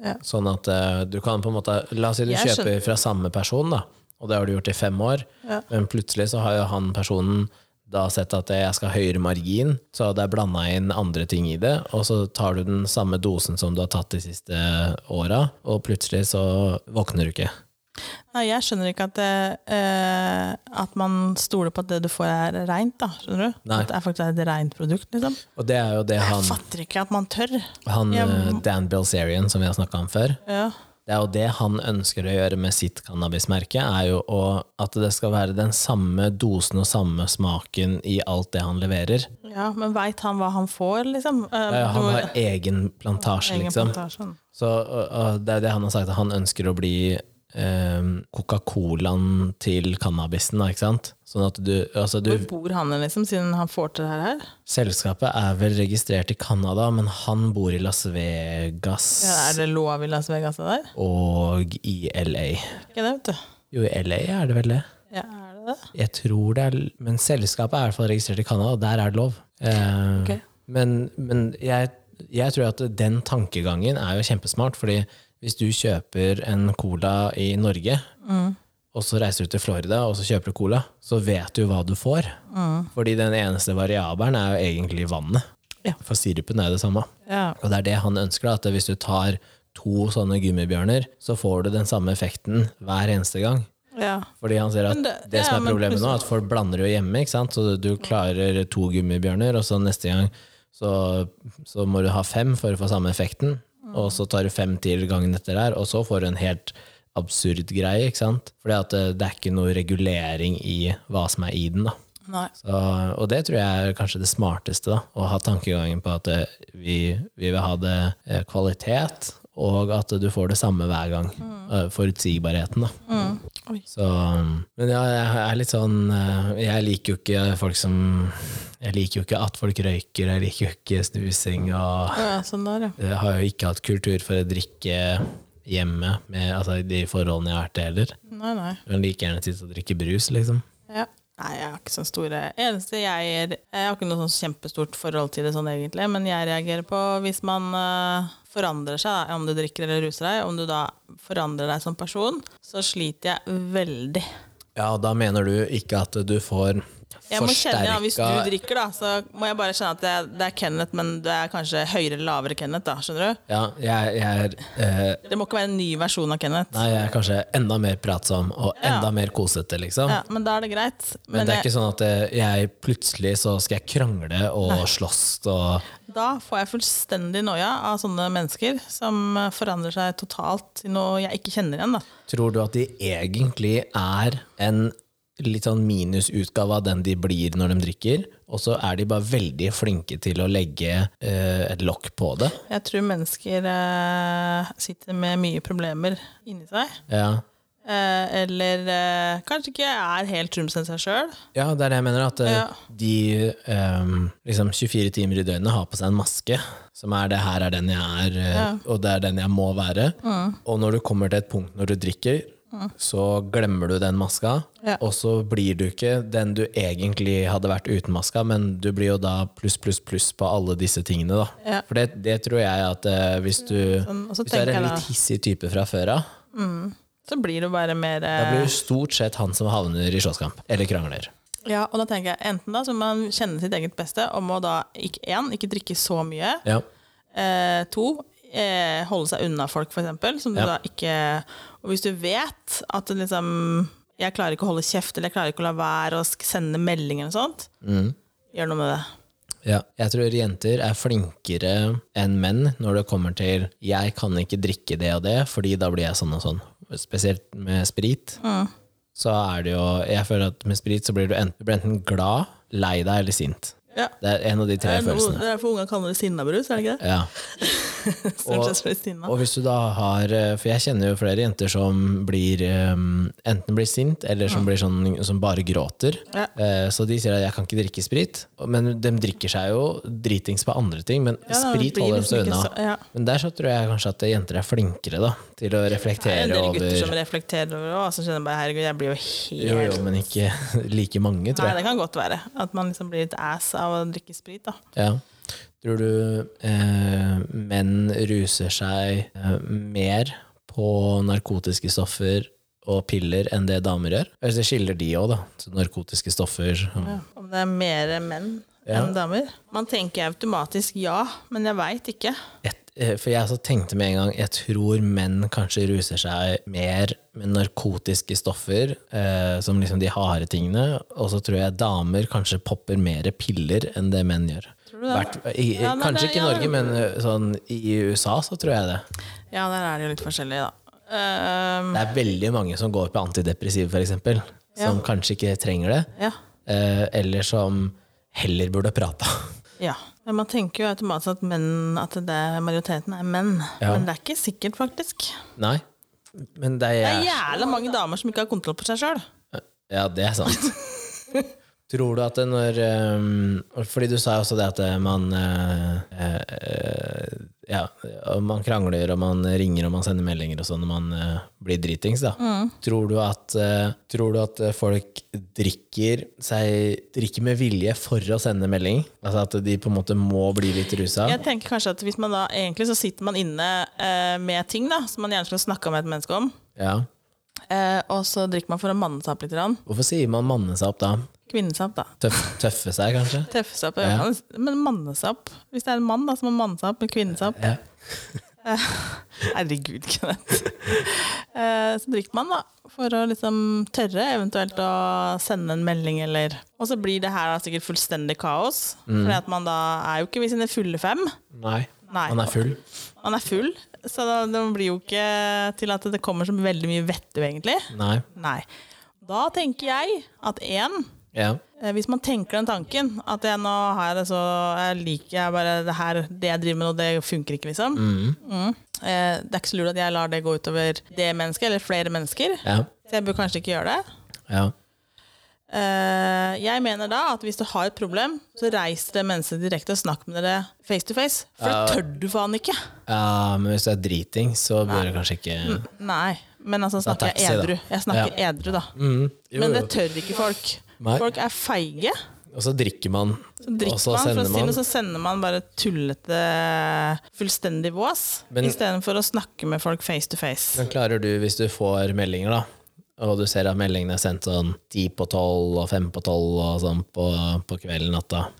S2: Ja.
S1: Sånn at eh, du kan på en måte La oss si du
S2: Jeg
S1: kjøper fra samme person, da, og det har du gjort i fem år,
S2: Ja.
S1: men plutselig så har jo han personen da sett at eh, jeg skal ha høyere margin, så det er blanda inn andre ting i det, og så tar du den samme dosen som du har tatt de siste åra, og plutselig så våkner du ikke.
S2: Nei, jeg skjønner ikke at, det, eh, at man stoler på at det du får er reint, da, skjønner du?
S1: Nei.
S2: At det er faktisk et reint produkt, liksom.
S1: Og det er jo det
S2: Jeg
S1: han,
S2: fatter ikke at man tør.
S1: han
S2: Jeg-
S1: eh, Dan Bilzerian, som vi har snakka om før,
S2: Ja.
S1: Det er jo det han ønsker å gjøre med sitt cannabismerke, er jo å, at det skal være den samme dosen og samme smaken i alt det han leverer.
S2: Ja, men veit han hva han får, liksom? Eh,
S1: Eh, Han
S2: du-
S1: har egen plantasje,
S2: egen
S1: liksom.
S2: plantasje.
S1: Så og, og det er det han har sagt, at han ønsker å bli eh, Coca-Colaen til cannabisen, da, ikke sant? Sånn at du, altså du
S2: Hvor bor han liksom, siden han får til det her?
S1: Selskapet er vel registrert i Canada, men han bor i Las Vegas
S2: Ja, er det lov i Las Vegas det der?
S1: og i LA.
S2: Ikke det, vet du.
S1: Jo, i LA er det vel det?
S2: Ja, er det det?
S1: Jeg tror det er Men selskapet er i hvert fall registrert i Canada, og der er det lov. Eh,
S2: Ok.
S1: Men, men jeg, jeg tror at den tankegangen er jo kjempesmart, fordi hvis du kjøper en cola i Norge,
S2: Mm.
S1: og så reiser du til Florida og så kjøper du cola, så vet du hva du får.
S2: Mm.
S1: Fordi den eneste variabelen er jo egentlig vannet.
S2: Ja.
S1: For sirupen er det samme.
S2: Ja.
S1: Og det er det han ønsker, da, at hvis du tar to sånne gummibjørner, så får du den samme effekten hver eneste gang.
S2: ja.
S1: Fordi han ser at
S2: Men
S1: det,
S2: det-
S1: som
S2: ja,
S1: er
S2: men
S1: problemet nå, er at folk blander jo hjemme, ikke sant? Så du klarer to gummibjørner, og så neste gang så, så må du ha fem for å få samme effekten, og så tar du fem til gangen etter der, og så får du en helt absurd greie, ikke sant? Fordi at eh, det er ikke noe regulering i hva som er i den, da.
S2: Nei.
S1: Så, og det tror jeg er kanskje det smarteste, da, å ha tankegangen på at eh, vi, vi vil ha det eh, kvalitet, og at du får det samme hver gang. Eh, Forutsigbarheten, da.
S2: Oi.
S1: Så, men ja, jeg er litt sånn eh, Jeg liker jo ikke folk som Jeg liker jo ikke at folk røyker, jeg liker jo ikke snusing, og
S2: Ja, sånn der, ja.
S1: jeg har jo ikke hatt kultur for å drikke hjemme, med, altså i de forholdene jeg har vært i heller.
S2: Nei, nei.
S1: Jeg kan like gjerne sitte og drikke brus, liksom.
S2: Ja. Nei, jeg har ikke sånn store Eneste jeg er Jeg har ikke noe sånn kjempestort forhold til det sånn egentlig, men jeg reagerer på hvis man eh, forandrer seg, da, om du drikker eller ruser deg, om du da forandrer deg som person, så sliter jeg veldig.
S1: Ja, da mener du ikke at du får
S2: Jeg må kjenne, ja, Hvis du
S1: forsterka-
S2: drikker, da, så må jeg bare kjenne at det, det er Kenneth, men det er kanskje høyere eller lavere Kenneth, da, skjønner du?
S1: Ja, jeg, jeg er eh,
S2: Det må ikke være en ny versjon av Kenneth.
S1: Nei, jeg er kanskje enda mer pratsom og enda mer kosete, liksom.
S2: Ja, men da er det greit.
S1: Men,
S2: Men,
S1: det er ikke sånn at eh, jeg plutselig så skal jeg krangle og slåss og
S2: jeg, da får jeg fullstendig noia av sånne mennesker som eh, forandrer seg totalt til noe jeg ikke kjenner igjen. da.
S1: Tror du at de egentlig er en litt sånn minusutgave av den de blir når de drikker, og så er de bare veldig flinke til å legge eh, et lokk på det?
S2: Jeg tror mennesker eh, sitter med mye problemer inni seg.
S1: Ja.
S2: Eh, eller eh, kanskje ikke er helt trumsen seg sjøl.
S1: Ja, det er det jeg mener. At eh,
S2: Ja.
S1: de ehm, liksom 24 timer i døgnet har på seg en maske, som er det her er den jeg er, eh, og det er den jeg må være. Og når du kommer til et punkt når du drikker, så glemmer du den maska,
S2: Ja.
S1: og så blir du ikke den du egentlig hadde vært uten maska, men du blir jo da pluss, pluss, pluss på alle disse tingene, da.
S2: Ja.
S1: For det, det tror jeg at eh, hvis du,
S2: Sånn, og så
S1: hvis du er en
S2: tenker jeg da-
S1: litt hissig type fra før av,
S2: Så blir det bare mer
S1: da
S2: eh,
S1: blir du stort sett han som havner i slåsskamp, eller krangler.
S2: Ja, og da tenker jeg enten da så må man kjenne sitt eget beste og må da ikke, en, ikke drikke så mye.
S1: Ja.
S2: Eh, to, eh, holde seg unna folk, for eksempel. Som du
S1: Ja.
S2: da ikke Og hvis du vet at det liksom Jeg klarer ikke å holde kjeft, eller jeg klarer ikke å la være å sk- sende melding eller sånt,
S1: Mm.
S2: gjør noe med det.
S1: Ja, jeg tror jenter er flinkere enn menn når det kommer til jeg kan ikke drikke det og det, fordi da blir jeg sånn og sånn. Spesielt med sprit. Så er det jo, jeg føler at med sprit så blir du enten, du blir enten glad, lei deg eller sint.
S2: Ja.
S1: Det er en av de
S2: Det
S1: tre
S2: er, noe,
S1: følelsene.
S2: det er derfor ungene kaller det sinnabrus, er
S1: [laughs]
S2: det ikke det?
S1: Ja.
S2: Stort sett så er det sinna.
S1: Og hvis du da har eh, For jeg kjenner jo flere jenter som blir eh, enten blir sint, eller som, blir sånn, som bare gråter.
S2: Ja.
S1: Eh, Så de sier at 'jeg kan ikke drikke sprit', men de drikker seg jo dritings på andre ting. Men
S2: Ja, da
S1: sprit
S2: blir
S1: holder de
S2: liksom
S1: seg
S2: ikke
S1: unna.
S2: så- ja.
S1: Men der så tror jeg kanskje at jenter er flinkere da, til å
S2: Det er en
S1: reflektere
S2: del gutter som
S1: over
S2: reflekterer over det, og som kjenner bare herregud, jeg blir jo helt
S1: jo, jo, men ikke [laughs] like mange, tror
S2: Nei,
S1: jeg.
S2: det kan godt være. At man liksom blir litt ass av å drikke sprit, da.
S1: Ja. Tror du eh, menn ruser seg eh, mer på narkotiske stoffer og piller enn det damer gjør? Eller så skiller de òg, da. Så narkotiske stoffer sånn som-
S2: Om det er mer menn
S1: Ja.
S2: enn damer. Man tenker automatisk ja, men jeg veit ikke.
S1: Et, eh, For jeg så tenkte med en gang jeg tror menn kanskje ruser seg mer med narkotiske stoffer, eh, som liksom de harde tingene, og så tror jeg damer kanskje popper mer piller enn det menn gjør.
S2: du det?
S1: Hvert- eh, i,
S2: Ja, nei,
S1: kanskje
S2: det-
S1: ikke i
S2: ja.
S1: Norge, men eh, sånn, i USA så tror jeg det.
S2: Ja, der er det jo litt forskjellig, da. Ehm,
S1: Det er veldig mange som går på antidepressiv, for eksempel, som kanskje ikke trenger det,
S2: ja.
S1: eh, eller som heller burde prata.
S2: ja. Men man tenker jo automatisk at menn, at det er majoriteten er menn.
S1: Ja.
S2: Men det er ikke sikkert, faktisk.
S1: [laughs] Nei, men det
S2: Det er
S1: er
S2: jævla mange damer som ikke har kontroll på seg sjøl.
S1: Ja, det er sant. Tror du at det når eh, Fordi du sa jo også det at eh, man eh, eh, Ja, og man krangler, og man ringer, og man sender meldinger og sånn når man eh, blir dritings, da. Tror, du at, eh, tror du at folk drikker seg Drikker med vilje for å sende melding? Altså at de på en måte må bli litt rusa?
S2: Jeg tenker kanskje at hvis man da egentlig så sitter man inne eh, med ting da, som man gjerne skulle snakka med et menneske om,
S1: Ja.
S2: eh, og så drikker man for å manne seg opp litt. grann.
S1: Hvorfor sier man manne seg opp da?
S2: Kvinne seg opp, da.
S1: Tøff, tøffe seg, kanskje?
S2: Tøffe seg opp.
S1: Ja.
S2: man- Men manne seg opp. Hvis det er en mann, da, så må man manne seg opp. Men kvinne seg opp.
S1: Ja.
S2: Herregud, Kenneth. [laughs] Eh, så drikker man, da. For å liksom tørre eventuelt å sende en melding eller Og så blir det her da sikkert fullstendig kaos.
S1: Mm.
S2: For at man da er jo ikke ved sine fulle fem.
S1: Nei.
S2: Nei.
S1: Man er full.
S2: Man er full, så da, det blir jo ikke til at det kommer så veldig mye vettug, egentlig.
S1: Nei.
S2: Nei. Da tenker jeg at én
S1: Ja.
S2: Eh, Hvis man tenker den tanken, at jeg nå har jeg det så Jeg liker jeg bare det her, det jeg driver med nå, det funker ikke, liksom. Mm. eh, det er ikke så lurt at jeg lar det gå utover det mennesket, eller flere mennesker.
S1: Ja.
S2: Så jeg bør kanskje ikke gjøre det.
S1: ja.
S2: Eh, jeg mener da at hvis du har et problem, så reis til det mennesket direkte og snakk med dere face to face. For det tør du faen ikke.
S1: Ja, Eh, men hvis du er driting, så bør du kanskje ikke
S2: Nei, men altså
S1: Da
S2: snakker jeg
S1: taxi, da.
S2: edru. Jeg snakker edru, da.
S1: mm, jo,
S2: Men
S1: jo.
S2: det tør ikke folk.
S1: Nei.
S2: Folk er feige.
S1: Og så drikker man,
S2: Så drikker
S1: og så
S2: man
S1: sender
S2: fra
S1: man.
S2: siden, og så sender man bare tullete, fullstendig vås.
S1: Men-
S2: Istedenfor å snakke med folk face to face.
S1: Men klarer du, hvis du får meldinger, da, og du ser at meldingene er sendt sånn ti på tolv og fem på tolv og sånn på, på kvelden, natta,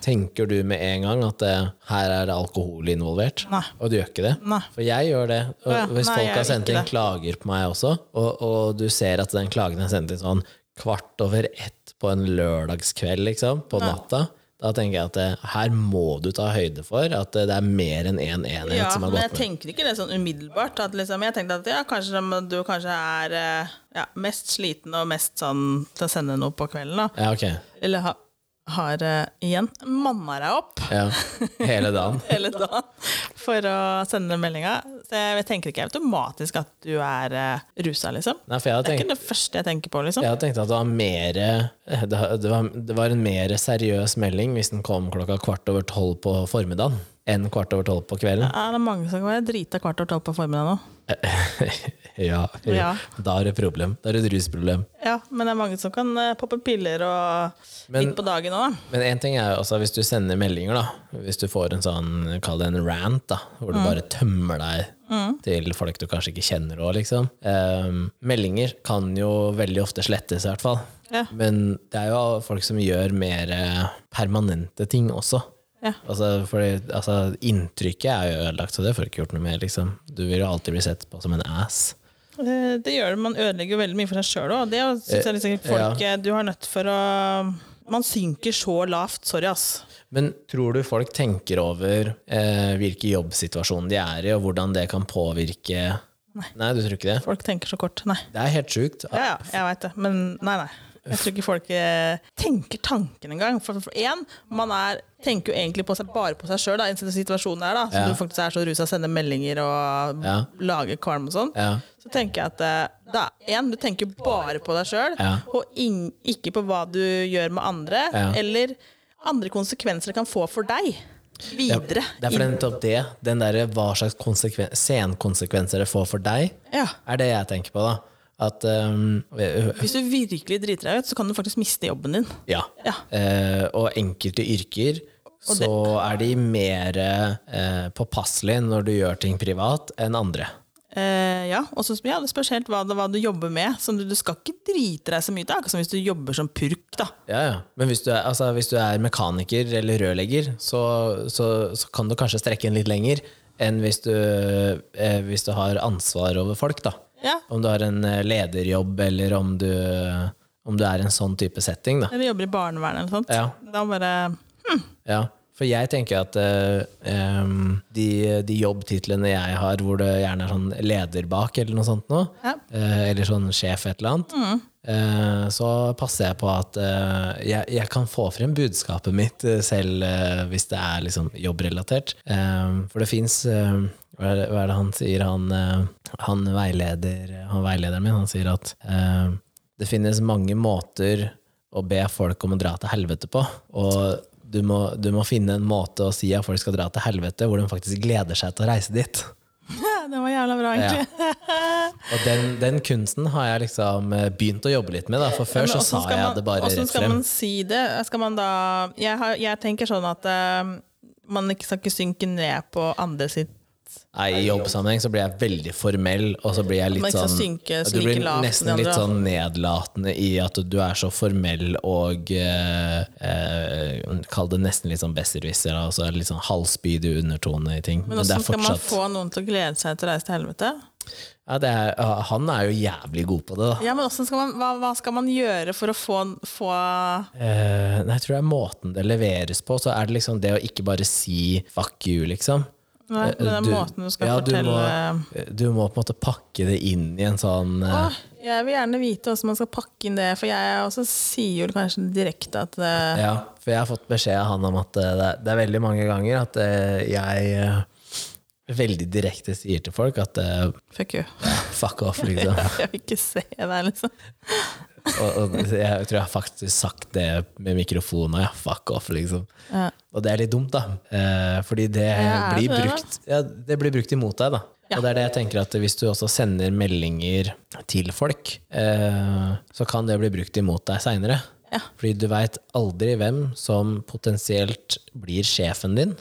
S1: tenker du med en gang at det, her er det alkohol involvert?
S2: Nei.
S1: Og du gjør ikke det?
S2: Nei.
S1: For jeg gjør det. Og
S2: Ja,
S1: hvis
S2: nei,
S1: folk
S2: jeg
S1: har
S2: gjør
S1: sendt
S2: ikke
S1: inn
S2: det.
S1: klager på meg også, og, og du ser at den klagen er sendt inn sånn kvart over ett på en lørdagskveld, liksom, på natta, da tenker jeg at det, her må du ta høyde for at eh, det, det er mer enn én en enhet
S2: Ja,
S1: som har
S2: men jeg
S1: gått med.
S2: tenker ikke det sånn umiddelbart. At liksom, jeg tenkte at ja, kanskje de- du kanskje er eh, ja, mest sliten og mest sånn til å sende noe på kvelden. da.
S1: Ja, ok.
S2: Eller ha, har eh, igjen manna deg opp [laughs]
S1: Ja. Hele dagen.
S2: hele dagen for å sende den meldinga. Så jeg, jeg tenker ikke automatisk at du er uh, rusa, liksom.
S1: Nei, for jeg hadde
S2: Det er
S1: tenkt,
S2: ikke det første jeg tenker på, liksom.
S1: jeg hadde tenkt at det var, mer, det, det, var, det var en mer seriøs melding hvis den kom klokka kvart over tolv på formiddagen enn kvart over tolv på kvelden.
S2: Er det mange som kan være drita kvart over tolv på formiddagen nå?
S1: [laughs] Ja,
S2: Ja.
S1: Da er det problem. Da er det et rusproblem.
S2: Ja, men det er mange som kan eh, poppe piller og
S1: Men-
S2: litt på dagen òg.
S1: Men en ting er jo også hvis du sender meldinger, da. Hvis du får en sånn, kall det en rant, da. Hvor du bare tømmer deg til folk du kanskje ikke kjenner òg, liksom. Ehm, meldinger kan jo veldig ofte slettes, i hvert fall.
S2: Ja.
S1: Men det er jo folk som gjør mer eh, permanente ting også.
S2: Ja.
S1: Altså, fordi, altså, inntrykket er jo ødelagt, så det får du ikke gjort noe med. Liksom. Du vil jo alltid bli sett på som en ass.
S2: Eh, Det gjør det. Man ødelegger jo veldig mye for seg sjøl òg. Det er jo- synes jeg liksom folk eh, Du har nødt for å Man synker så lavt. Sorry, ass.
S1: Men tror du folk tenker over eh, hvilken jobbsituasjon de er i, og hvordan det kan påvirke Nei, du tror ikke det?
S2: Folk tenker så kort. Nei.
S1: Det er helt sjukt.
S2: Ja, ja, jeg veit det. Men nei, nei. Jeg tror ikke folk eh, tenker tanken engang. For for- for én, man er, tenker jo egentlig på seg, bare på seg sjøl i den situasjonen der, da. Så
S1: Ja.
S2: du faktisk er så rusa, sender meldinger og
S1: Ja.
S2: lager kvalm og sånn.
S1: Ja.
S2: Så tenker jeg at eh, da, en, du tenker bare på deg sjøl,
S1: Ja.
S2: og ing- ikke på hva du gjør med andre,
S1: Ja.
S2: eller andre konsekvenser det kan få for deg videre.
S1: Det er for nettopp det. Den derre hva slags konsekven- senkonsekvenser det får for deg,
S2: Ja.
S1: er det jeg tenker på, da. At ehm,
S2: Hvis du virkelig driter deg ut, så kan du faktisk miste jobben din.
S1: Ja.
S2: Ja.
S1: Eh, og enkelte yrker så er de mer eh, påpasselige når du gjør ting privat, enn andre.
S2: Eh, ja, og så ja, det spørs helt hva, det, hva du jobber med. Sånn, du, du skal ikke drite deg så mye. Det er akkurat som hvis du jobber som purk. da.
S1: Ja, ja. Men hvis du er, altså, hvis du er mekaniker eller rørlegger, så, så, så kan du kanskje strekke den litt lenger enn hvis du, eh, hvis du har ansvar over folk. da.
S2: Ja,
S1: Om du har en eh, lederjobb, eller om du, om du er i en sånn type setting. da.
S2: Eller jobber i barnevernet eller noe sånt.
S1: Ja.
S2: Da bare [laughs]
S1: Ja, for jeg tenker at eh, em, de, de jobbtitlene jeg har, hvor det gjerne er sånn leder bak eller noe sånt nå,
S2: Ja.
S1: eh, eller sånn sjef et eller annet, eh, så passer jeg på at eh, jeg, jeg kan få frem budskapet mitt eh, selv eh, hvis det er liksom jobbrelatert. Em, for det fins hva er, det, hva er det han sier, han, eh, han, veileder, han veilederen min, han sier at eh, det finnes mange måter å be folk om å dra til helvete på. Og du må, du må finne en måte å si at folk skal dra til helvete, hvor de faktisk gleder seg til å reise dit.
S2: Det var jævla bra, egentlig.
S1: [laughs] Og den, den kunsten har jeg liksom eh, begynt å jobbe litt med, da. for før
S2: Men
S1: så
S2: hvordan
S1: sa
S2: skal
S1: jeg
S2: man-
S1: det bare
S2: hvordan
S1: rett
S2: skal
S1: frem.
S2: man si det? Skal man da Jeg, har, jeg tenker sånn at eh, man ikke skal ikke synke ned på andre sitt
S1: Nei, I jobbsammenheng så blir jeg veldig formell, og så blir jeg
S2: Man
S1: litt
S2: ikke skal
S1: sånn
S2: synke-
S1: Du blir
S2: synke lavt som
S1: nesten
S2: de andre, altså.
S1: litt
S2: da.
S1: sånn nedlatende i at du er så formell og eh, eh, Kall det nesten litt sånn besserwisser, da, og så er det litt sånn halvspydig undertone i ting.
S2: Men
S1: Men det
S2: hvordan
S1: er
S2: skal man
S1: fortsatt
S2: få noen til å glede seg til å reise til helvete?
S1: Ja, det er, ja, han er jo jævlig god på det, da.
S2: Ja, men hvordan skal man, hva, hva skal man gjøre for å få, få
S1: Eh, nei, jeg tror det er måten det leveres på. Så er det liksom det å ikke bare si 'fuck you', liksom.
S2: Nei, men den måten du skal
S1: ja,
S2: fortelle
S1: Du må, du må på en måte pakke det inn i en sånn eh,
S2: Åh, jeg vil gjerne vite hvordan man skal pakke inn det, for jeg også sier jo kanskje direkte at eh,
S1: Ja, for jeg har fått beskjed av han om at eh, det er, det er veldig mange ganger at eh, jeg eh, veldig direkte sier til folk at eh,
S2: Fuck you.
S1: fuck off,
S2: [laughs]
S1: liksom.
S2: Jeg vil ikke se deg, liksom.
S1: Og, og jeg tror jeg har faktisk sagt det med mikrofonen, ja, fuck off, liksom.
S2: Ja.
S1: Og det er litt dumt, da. Eh, fordi det
S2: Ja,
S1: blir
S2: det er det.
S1: brukt ja, Det blir brukt imot deg, da. Og det er det jeg tenker at hvis du også sender meldinger til folk, eh, så kan det bli brukt imot deg seinere.
S2: Ja.
S1: Fordi du veit aldri hvem som potensielt blir sjefen din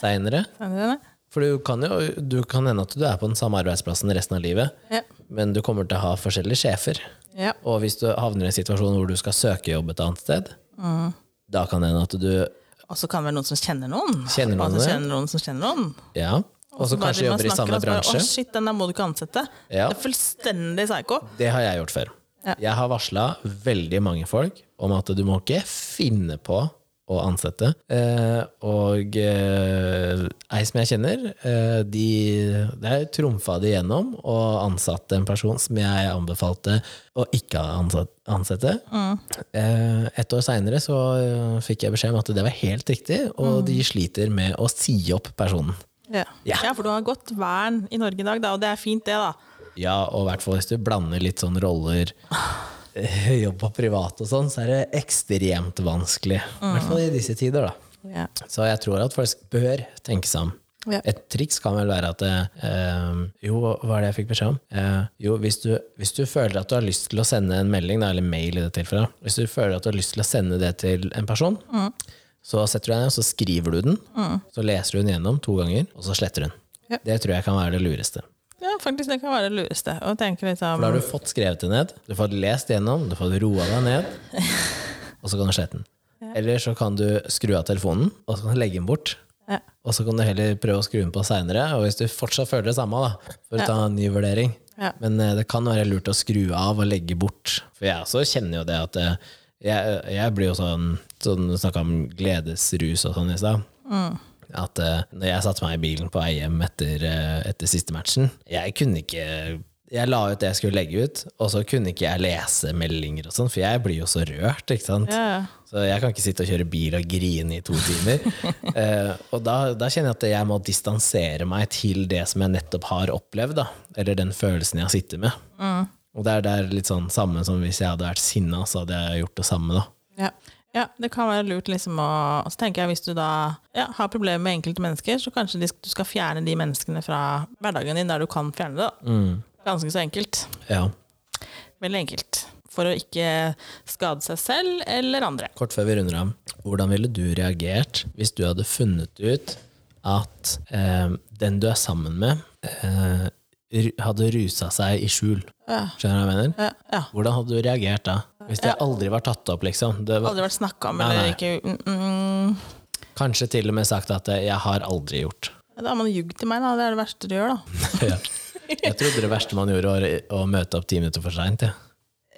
S1: seinere.
S2: Skjønner du det?
S1: For du kan jo du kan hende at du er på den samme arbeidsplassen resten av livet,
S2: Ja.
S1: men du kommer til å ha forskjellige sjefer.
S2: ja.
S1: Og hvis du havner i en situasjon hvor du skal søke jobb et annet sted,
S2: Mm.
S1: da kan det hende at du
S2: Og så kan det være noen som kjenner noen.
S1: Kjenner noen,
S2: Og så
S1: ja.
S2: kjenner noen som kjenner noen.
S1: Ja. Og så
S2: bare
S1: kanskje
S2: man
S1: jobber i
S2: snakker,
S1: samme
S2: og så bare,
S1: bransje.
S2: Å, shit, den der må du ikke ansette.
S1: Ja.
S2: Det er fullstendig psyko.
S1: Det har jeg gjort før.
S2: Ja.
S1: Jeg har varsla veldig mange folk om at du må ikke finne på å ansette. Eh, og eh, ei som jeg kjenner, eh, de der trumfa de gjennom og ansatte en person som jeg anbefalte å ikke ansatt, ansette. Eh, et år seinere så eh, fikk jeg beskjed om at det var helt riktig, og de sliter med å si opp personen.
S2: Ja.
S1: Ja.
S2: for du har godt vern i Norge i dag, da, og det er fint, det, da.
S1: Ja, og i hvert fall hvis du blander litt sånn roller eh, jobb og privat og sånn, så er det ekstremt vanskelig. I hvert fall i disse tider, da.
S2: Ja.
S1: Så jeg tror at folk bør tenke seg om.
S2: Ja.
S1: Et triks kan vel være at eh, Jo, hva er det jeg fikk beskjed om? Eh, jo, hvis du, hvis du føler at du har lyst til å sende en melding, da, eller mail i det tilfellet, da. hvis du føler at du har lyst til å sende det til en person, så setter du deg ned, og så skriver du den, så leser du den gjennom to ganger, og så sletter du den.
S2: Ja.
S1: Det tror jeg kan være det lureste.
S2: ja, faktisk, det kan være det lureste. Og tenke litt sånn
S1: For da har du fått skrevet det ned, du har fått lest gjennom, du har fått roa deg ned, og så kan du slette den. Eller så kan du skru av telefonen, og så kan du legge den bort.
S2: Ja.
S1: Og så kan du heller prøve å skru den på seinere, og hvis du fortsatt føler det samme, da, får du ta en ny vurdering.
S2: Ja.
S1: Men eh, det kan være lurt å skru av og legge bort. For jeg også kjenner jo det at eh, jeg, jeg blir jo sånn, sånn Snakka om gledesrus og sånn i stad.
S2: Mm.
S1: At eh, når jeg satte meg i bilen på vei hjem etter, eh, etter siste matchen Jeg kunne ikke Jeg la ut det jeg skulle legge ut, og så kunne ikke jeg lese meldinger og sånn, for jeg blir jo så rørt, ikke sant.
S2: Ja, ja.
S1: Så jeg kan ikke sitte og kjøre bil og grine i to timer. Eh, og da, da kjenner jeg at jeg må distansere meg til det som jeg nettopp har opplevd, da. eller den følelsen jeg sitter med. Og det er, det er litt sånn samme som hvis jeg hadde vært sinna, så hadde jeg gjort det samme da.
S2: Ja. ja, det kan være lurt liksom å Og så tenker jeg hvis du da ja, har problemer med enkelte mennesker, så kanskje de, du skal fjerne de menneskene fra hverdagen din der du kan fjerne det. da.
S1: Mm.
S2: Ganske så enkelt.
S1: Ja.
S2: Veldig enkelt. For å ikke skade seg selv eller andre.
S1: Kort før vi runder av, hvordan ville du reagert hvis du hadde funnet ut at eh, den du er sammen med, eh, ru- hadde rusa seg i skjul? Skjønner du hva jeg mener?
S2: Ja, ja.
S1: Hvordan hadde du reagert da? Hvis det aldri var tatt opp, liksom. Det var,
S2: Aldri vært snakka om,
S1: Nei,
S2: eller
S1: nei.
S2: ikke mm, mm,
S1: Kanskje til og med sagt at eh, jeg har aldri
S2: [laughs]
S1: gjort.
S2: Da har man ljugd til meg, da. Det er det verste du gjør, da.
S1: Jeg trodde det verste man gjorde var å møte opp ti minutter for seint. Ja. [laughs]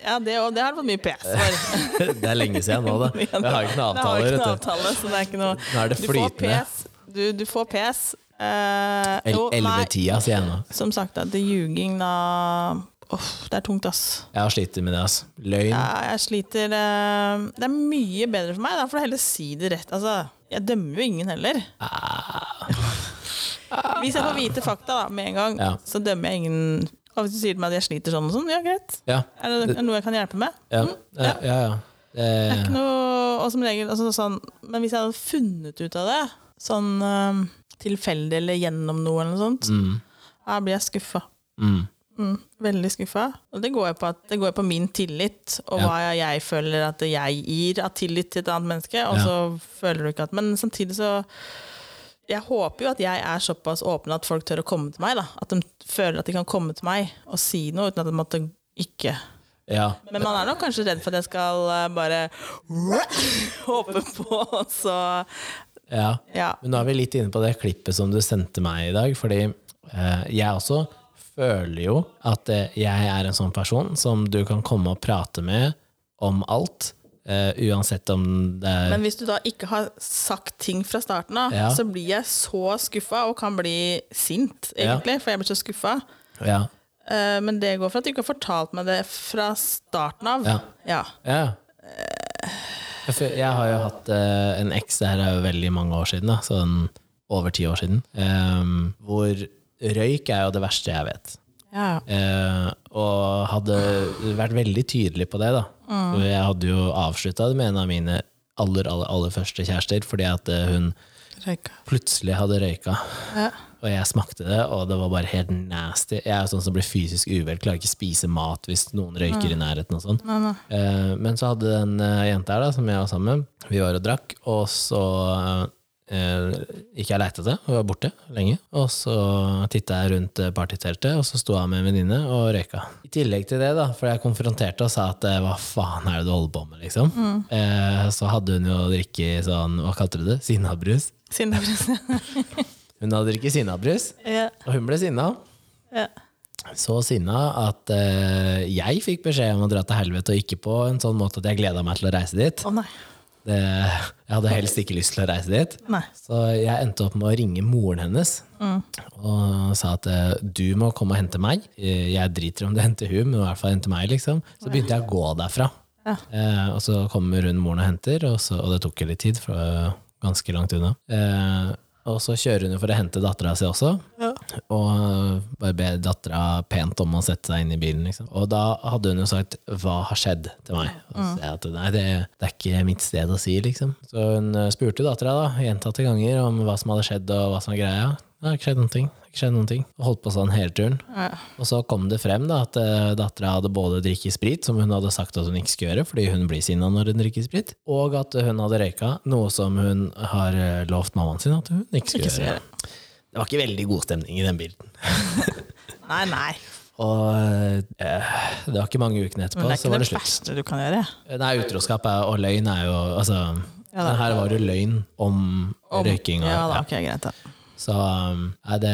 S2: Ja, det, og det har du fått mye [laughs] PS for.
S1: Det er lenge siden
S2: [laughs]
S1: nå, da. Vi har ikke noen
S2: Det har
S1: avtaler.
S2: ikke noen
S1: Vet du.
S2: avtale, så det er ikke noe
S1: Nå er det
S2: Du
S1: flytende.
S2: får PS. Du, du får PS. Eh, jo,
S1: El-
S2: nei,
S1: 11-tida, sier jeg nå.
S2: Som sagt, da, det ljuging da Uff, det er tungt, ass.
S1: Jeg har slitt med det. ass. Løgn.
S2: Ja, Jeg sliter eh, Det er mye bedre for meg. Da får jeg heller si det rett. Altså, jeg dømmer jo ingen heller.
S1: Ah.
S2: [laughs] Hvis jeg får vite fakta da, med en gang,
S1: Ja.
S2: så dømmer jeg ingen. Og hvis du sier til meg at jeg sliter sånn og sånn, ja, greit.
S1: Ja.
S2: Er det er det noe jeg kan hjelpe med?
S1: Ja. Ja, ja. ja. Eh,
S2: Ikke noe, og som regel, altså, sånn, men hvis jeg hadde funnet ut av det, sånn eh, tilfeldig eller gjennom noe eller noe sånt, da blir jeg skuffa.
S1: mm.
S2: Mm, veldig skuffa. Og det går jo på, at, det går jo på min tillit, og
S1: Ja.
S2: hva jeg føler at jeg gir av tillit til et annet menneske.
S1: Ja.
S2: Og så føler du ikke at Men samtidig så Jeg håper jo at jeg er såpass åpen at folk tør å komme til meg. da At de føler at de kan komme til meg og si noe uten at de måtte ikke
S1: ja.
S2: men man er nok kanskje redd for at jeg skal eh, bare [laughs] håpe på, og så
S1: ja.
S2: Ja.
S1: Men nå er vi litt inne på det klippet som du sendte meg i dag, fordi eh, jeg også føler jo at eh, jeg er en sånn person som du kan komme og prate med om alt, eh, uansett om det er
S2: Men hvis du da ikke har sagt ting fra starten av,
S1: Ja.
S2: så blir jeg så skuffa, og kan bli sint, egentlig, for jeg blir så skuffa.
S1: ja.
S2: Eh, Men det går for at du ikke har fortalt meg det fra starten av.
S1: Ja.
S2: Ja.
S1: Ja. Jeg fø- jeg har jo hatt eh, en eks, det her er jo veldig mange år siden, da, sånn over ti år siden, ehm, hvor røyk er jo det verste jeg vet.
S2: Ja.
S1: Eh, og hadde vært veldig tydelig på det. da For Jeg hadde jo avslutta det med en av mine aller, aller, aller første kjærester, fordi at eh, hun
S2: Røyka.
S1: plutselig hadde røyka.
S2: Ja.
S1: Og jeg smakte det, og det var bare helt nasty. Jeg er jo sånn som blir fysisk uvel, klarer ikke spise mat hvis noen røyker i nærheten. og sånn. Eh, Men så hadde den eh, jenta her da, som jeg var sammen med, vi var og drakk, og så eh, gikk jeg og leita etter henne, og var borte lenge. Og så titta jeg rundt eh, partyteltet, og så sto jeg med en venninne og røyka. I tillegg til det, da, for jeg konfronterte og sa at eh, hva faen er det du holder på med, liksom. Eh, Så hadde hun jo drikket sånn, hva kalte du det, sinnabrus.
S2: Siden det er
S1: Hun hadde drikket sinnabrus,
S2: [laughs] ja.
S1: og hun ble sinna.
S2: ja.
S1: Så sinna at eh, jeg fikk beskjed om å dra til helvete, og ikke på en sånn måte at jeg gleda meg til å reise dit.
S2: Å nei.
S1: Det, jeg hadde helst ikke lyst til å reise dit.
S2: Nei.
S1: Så jeg endte opp med å ringe moren hennes og sa at eh, du må komme og hente meg. Eh, Jeg driter om du henter hun, men i hvert fall hente meg. liksom. Så begynte jeg å gå derfra.
S2: Ja.
S1: Eh, og så kommer hun moren og henter, og, så, og det tok litt tid, for det var ganske langt unna. Eh, og så kjører hun jo for å hente dattera si også.
S2: Ja.
S1: Og bare be dattera pent om å sette seg inn i bilen. Liksom. Og da hadde hun jo sagt 'hva har skjedd?' til meg. Og så sa jeg at nei, det, det er ikke mitt sted å si, liksom. Så hun eh, spurte dattera da, gjentatte ganger om hva som hadde skjedd og hva som var greia. Det har ikke skjedd noen ting. det har Ikke skjedd noen ting. Og holdt på sånn hele turen.
S2: Ja.
S1: Og så kom det frem da, at eh, dattera hadde både drikket sprit, som hun hadde sagt at hun ikke skulle gjøre, fordi hun blir sinna når hun drikker sprit, og at hun hadde røyka, noe som hun har eh, lovt mammaen sin at hun ikke skulle
S2: Ikke skulle
S1: gjøre. Det var ikke veldig god stemning i den bilden.
S2: Nei, nei.
S1: Og eh, det var ikke mange ukene etterpå,
S2: Men det er
S1: så
S2: ikke
S1: var
S2: det
S1: det slutt.
S2: verste du kan gjøre.
S1: Nei, utroskap er, og løgn er jo Altså,
S2: Ja da.
S1: det her var jo løgn om,
S2: Om-
S1: røyking. Og,
S2: Ja da,
S1: ja.
S2: ok, greit da.
S1: Så um, nei, det,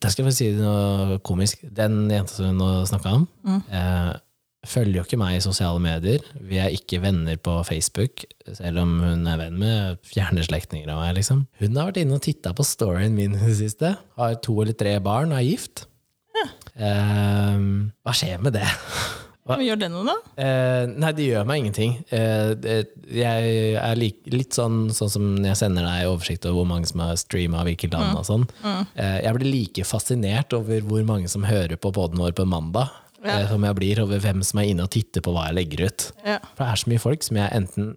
S1: det skal jeg få si noe komisk. Den jenta som vi nå snakka om, eh, følger jo ikke meg i sosiale medier. Vi er ikke venner på Facebook, selv om hun er venn med fjerne slektninger av meg. Liksom. Hun har vært inne og titta på storyen min i det siste. Har to eller tre barn og er gift. Eh, hva skjer med det? [laughs] Hva,
S2: Men Gjør det noe, da?
S1: Eh, nei, det gjør meg ingenting. Eh, det, jeg er lik, litt sånn, sånn som jeg sender deg oversikt over hvor mange som har streama hvilket
S2: Mm.
S1: land og sånn. Eh, jeg blir like fascinert over hvor mange som hører på podden vår på mandag,
S2: Ja.
S1: eh, som jeg blir over hvem som er inne og titter på hva jeg legger ut.
S2: Ja.
S1: For det er så mye folk som jeg enten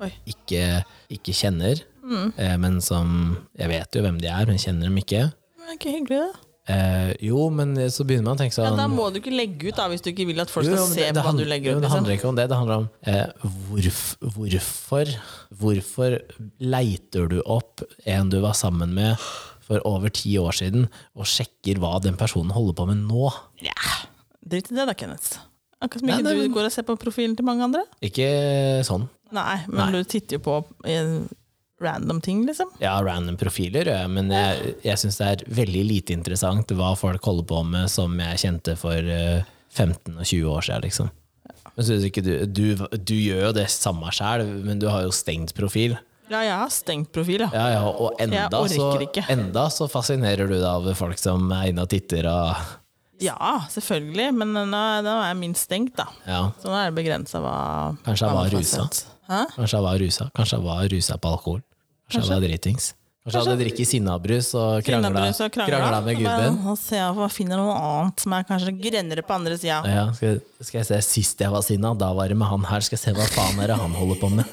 S2: Oi.
S1: ikke, ikke kjenner,
S2: Mm.
S1: eh, men som Jeg vet jo hvem de er, men kjenner dem ikke.
S2: Men det er ikke hyggelig, da.
S1: Eh, jo, men så begynner man å tenke sånn
S2: Ja, da må du ikke legge ut, da, hvis du ikke vil at folk
S1: Jo,
S2: skal
S1: jo, men
S2: se
S1: det- det
S2: på hva du
S1: handler-
S2: legger
S1: jo,
S2: ut.
S1: Det
S2: Liksom.
S1: handler ikke om det. Det handler om eh, hvorf, hvorfor Hvorfor leiter du opp en du var sammen med for over ti år siden, og sjekker hva den personen holder på med nå?
S2: Ja. Drit i det, da, Kenneth. Akkurat som
S1: Nei,
S2: ikke
S1: nei, men-
S2: du går og ser på profilen til mange andre.
S1: Ikke sånn.
S2: Nei, men du titter jo på eh, random ting, liksom.
S1: Ja, random profiler, ja, men jeg, jeg syns det er veldig lite interessant hva folk holder på med som jeg kjente for eh, 15 og 20 år siden, liksom. Men synes ikke du, du, du gjør jo det samme sjæl, men du har jo stengt profil.
S2: Ja, jeg har stengt profil, ja.
S1: Ja, ja, og enda
S2: Jeg orker
S1: så,
S2: ikke.
S1: enda så fascinerer du deg over folk som er inne og titter og
S2: Ja, selvfølgelig, men nå, nå er min stengt, da.
S1: ja.
S2: Så nå er det begrensa hva
S1: Kanskje jeg
S2: hva
S1: var
S2: man får
S1: rusa.
S2: sett. Hæ?
S1: Kanskje jeg var rusa Kanskje jeg var rusa på alkohol. Kanskje, jeg var dritings. Kanskje, jeg hadde drikket sinnabrus og krangla,
S2: Innabrus og krangla.
S1: krangla med gubben.
S2: Nå ser jeg om jeg finner noe annet som er kanskje grønnere på andre sida.
S1: Ja, skal, skal jeg se Sist jeg var sinna, da var det med han her. Skal jeg se hva faen er det han holder på med.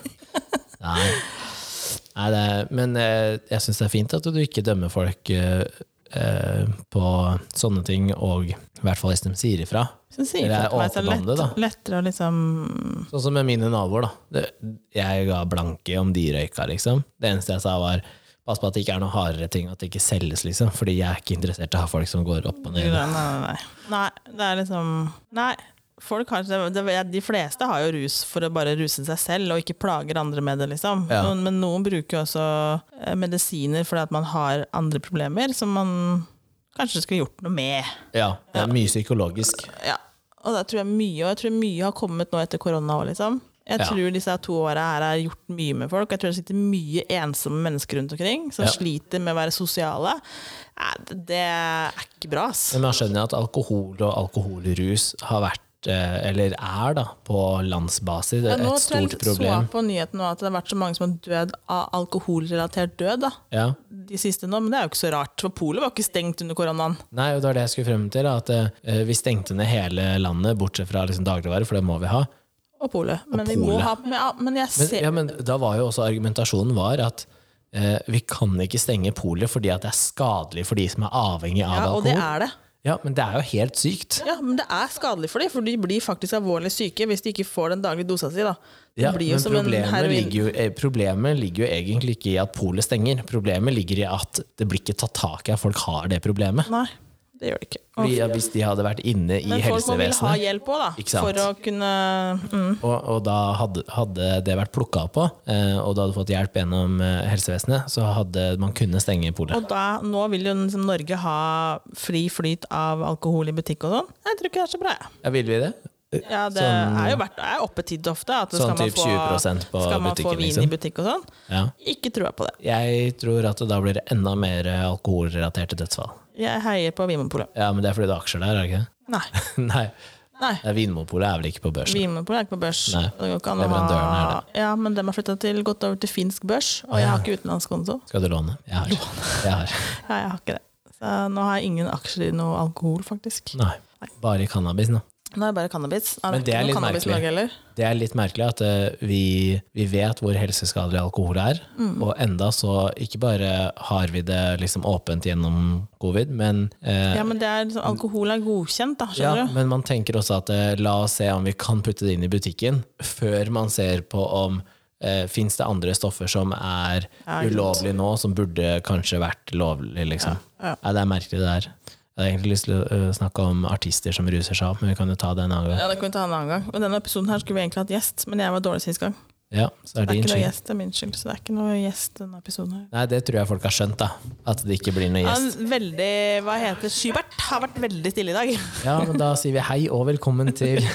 S1: Nei, Nei det, er- Men eh, jeg syns det er fint at du ikke dømmer folk eh, eh, på sånne ting, og i hvert fall hvis de sier ifra.
S2: Så sier
S1: Eller er
S2: folk til meg at
S1: åpen om
S2: det
S1: det,
S2: er
S1: da.
S2: lett, lettere å liksom
S1: Sånn som med mine naboer, da. Det, jeg ga blanke i om de røyka, liksom. Det eneste jeg sa, var pass på at det ikke er noen hardere ting, at det ikke selges, liksom. Fordi jeg er ikke interessert i å ha folk som går opp og
S2: Nei,
S1: ned.
S2: nei, nei. nei, det er liksom Nei. Folk har, det, det- de fleste har jo rus for å bare ruse seg selv og ikke plager andre med det. liksom.
S1: Ja.
S2: Noen, men noen bruker jo også eh, medisiner fordi at man har andre problemer som man kanskje skulle gjort noe med.
S1: Ja, det er mye psykologisk.
S2: Ja, og det tror jeg mye, og jeg tror mye har kommet nå etter korona òg, liksom. Jeg
S1: Ja.
S2: tror disse her to åra her har gjort mye med folk. Jeg tror det sitter mye ensomme mennesker rundt omkring som
S1: Ja.
S2: sliter med å være sosiale. Nei, det- Det er ikke bra, ass.
S1: Men man skjønner jo at alkohol og alkoholrus har vært eh, eller er da, på landsbasis
S2: Ja,
S1: et
S2: nå tror jeg
S1: stort
S2: jeg så
S1: problem.
S2: på nyheten nå at det har vært så mange som har dødd av alkoholrelatert død. da.
S1: Ja.
S2: de siste nå, men det er jo ikke så rart. For polet var ikke stengt under koronaen.
S1: Nei, og det var det jeg skulle frem til. da, At eh, vi stengte ned hele landet, bortsett fra liksom, dagligvarer, for det må vi ha.
S2: Og polet. Men vi må
S1: polet.
S2: ha men, ja, men jeg
S1: Men,
S2: ser
S1: ja, men da var jo også argumentasjonen var at eh, vi kan ikke stenge polet fordi at det er skadelig for de som er avhengig av
S2: Ja, og det
S1: alkohol.
S2: er det.
S1: Ja, men det er jo helt sykt.
S2: Ja, men det er skadelig for dem, for de blir faktisk alvorlig syke hvis de ikke får den daglige dosa si. da. Det
S1: Ja,
S2: blir jo
S1: men
S2: som en
S1: problemet
S2: heroin-
S1: ligger, jo, eh, problemet ligger jo egentlig ikke i at polet stenger. Problemet ligger i at det blir ikke tatt tak i at folk har det problemet.
S2: Nei, det gjør det ikke. Og-
S1: Fordi at Hvis de hadde vært inne i
S2: men folk må vel ha
S1: helsevesenet,
S2: hjelp òg, da.
S1: Ikke sant?
S2: For å kunne mm.
S1: og, og da hadde, hadde det vært plukka opp på, eh, og du hadde fått hjelp gjennom eh, helsevesenet, så hadde man kunnet stenge polet.
S2: Og da, nå vil jo liksom Norge ha fri flyt av alkohol i butikk og sånn. Jeg tror ikke det er så bra, jeg.
S1: Ja, ville vi det?
S2: Ja, det er jo verdt, det er oppetid ofte. At
S1: Sånn
S2: skal man
S1: typ
S2: få,
S1: 20% på
S2: skal man få
S1: butikken,
S2: vin
S1: liksom.
S2: i butikk og sånn.
S1: Ja.
S2: Ikke trua på det.
S1: Jeg tror at det da blir det enda mer eh, alkoholrelaterte dødsfall.
S2: Jeg heier på Vinmonopolet.
S1: Ja, men det er fordi det er aksjer der, er det ikke [laughs] det?
S2: Nei.
S1: Nei,
S2: nei.
S1: det er Vinmonopolet er vel ikke på børsen?
S2: Vinmonopolet er ikke på børs.
S1: Nei,
S2: Det går ikke an å
S1: leverandøren
S2: ha...
S1: er
S2: Ja, men dem har flytta til gått over til finsk børs, og jeg har ikke utenlandskonto.
S1: Skal du låne? Jeg har. Jeg har.
S2: Ja, jeg har ikke det. Så nå har jeg ingen aksjer i noe alkohol, faktisk.
S1: Nei. Bare i cannabis nå.
S2: Nå er det bare cannabis.
S1: Men det er
S2: ikke noe
S1: litt
S2: cannabis i
S1: merkelig.
S2: Norge heller.
S1: Det er litt merkelig at eh, vi, vi vet hvor helseskadelig alkohol er, og enda så ikke bare har vi det liksom åpent gjennom covid, men eh,
S2: Ja, men det er liksom, alkohol er godkjent, da, skjønner
S1: ja,
S2: du?
S1: men man tenker også at eh, la oss se om vi kan putte det inn i butikken, før man ser på om eh, fins det andre stoffer som er
S2: Ja, ikke sant.
S1: ulovlige nå, som burde kanskje vært lovlig, liksom.
S2: Ja, ja.
S1: Nei, det er merkelig det der. Jeg hadde egentlig lyst til å eh, snakke om artister som ruser seg opp, men vi kan jo ta det en annen gang.
S2: Ja, det kan vi ta en annen gang. Og denne episoden her skulle vi egentlig hatt gjest, men jeg var dårlig sist gang.
S1: Ja, så er
S2: Det er
S1: det din
S2: ikke noe
S1: skyld.
S2: gjest, det er min skyld. Så det er ikke noe gjest denne episoden her.
S1: Nei, det tror jeg folk har skjønt, da. At det ikke blir noe gjest.
S2: Han veldig, hva heter Skybert har vært veldig stille i dag.
S1: Ja, men da sier vi hei og velkommen til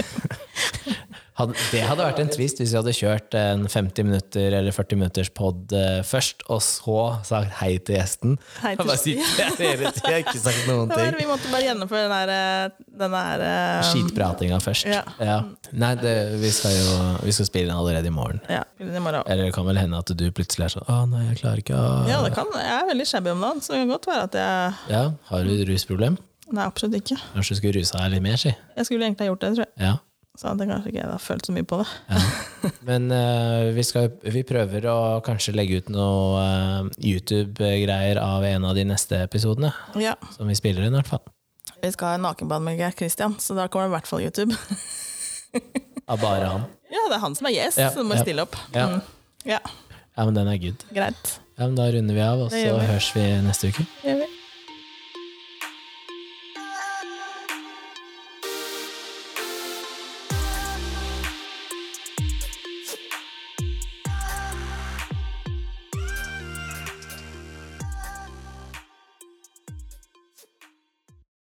S1: Hadde- Det hadde vært en twist hvis vi hadde kjørt en 50 minutter eller 40 minutters pod eh, først, og så sagt hei til gjesten.
S2: Hei til
S1: Jeg bare sitter her [laughs] hele tiden, jeg har ikke sagt
S2: [laughs]
S1: noen
S2: [laughs] Det var,
S1: ting.
S2: vi måtte bare gjennomføre den her, eh, den her eh,
S1: Skitpratinga først.
S2: Ja.
S1: Ja. Nei, det, vi skal jo vi skal spille den allerede i morgen.
S2: Ja, spille den i morgen.
S1: Eller det kan vel hende at du plutselig er sånn Å nei, jeg klarer ikke å
S2: Ja, det kan. Jeg er veldig shabby om dagen, så det kan godt være at jeg
S1: Ja, Har du rusproblem?
S2: Nei, absolutt ikke.
S1: Kanskje du skulle rusa deg litt mer, si.
S2: Jeg skulle egentlig ha gjort det, tror jeg.
S1: Ja.
S2: Så hadde jeg kanskje ikke jeg da følt så mye på det.
S1: Men eh, vi, skal, vi prøver å kanskje legge ut noe eh, YouTube-greier av en av de neste episodene.
S2: Ja,
S1: Som vi spiller inn, i hvert fall.
S2: Vi skal ha en nakenbad med Geir Christian, så da kommer det i hvert fall YouTube.
S1: Av bare han.
S2: [laughs] Ja, det er han som er gjest,
S1: Ja,
S2: så du må
S1: ja.
S2: stille opp.
S1: Ja.
S2: Mm. ja,
S1: Ja, men den er good.
S2: greit.
S1: Ja, men da runder vi av, og
S2: Det
S1: så
S2: gjør vi.
S1: høres vi neste uke.
S2: Det gjør vi.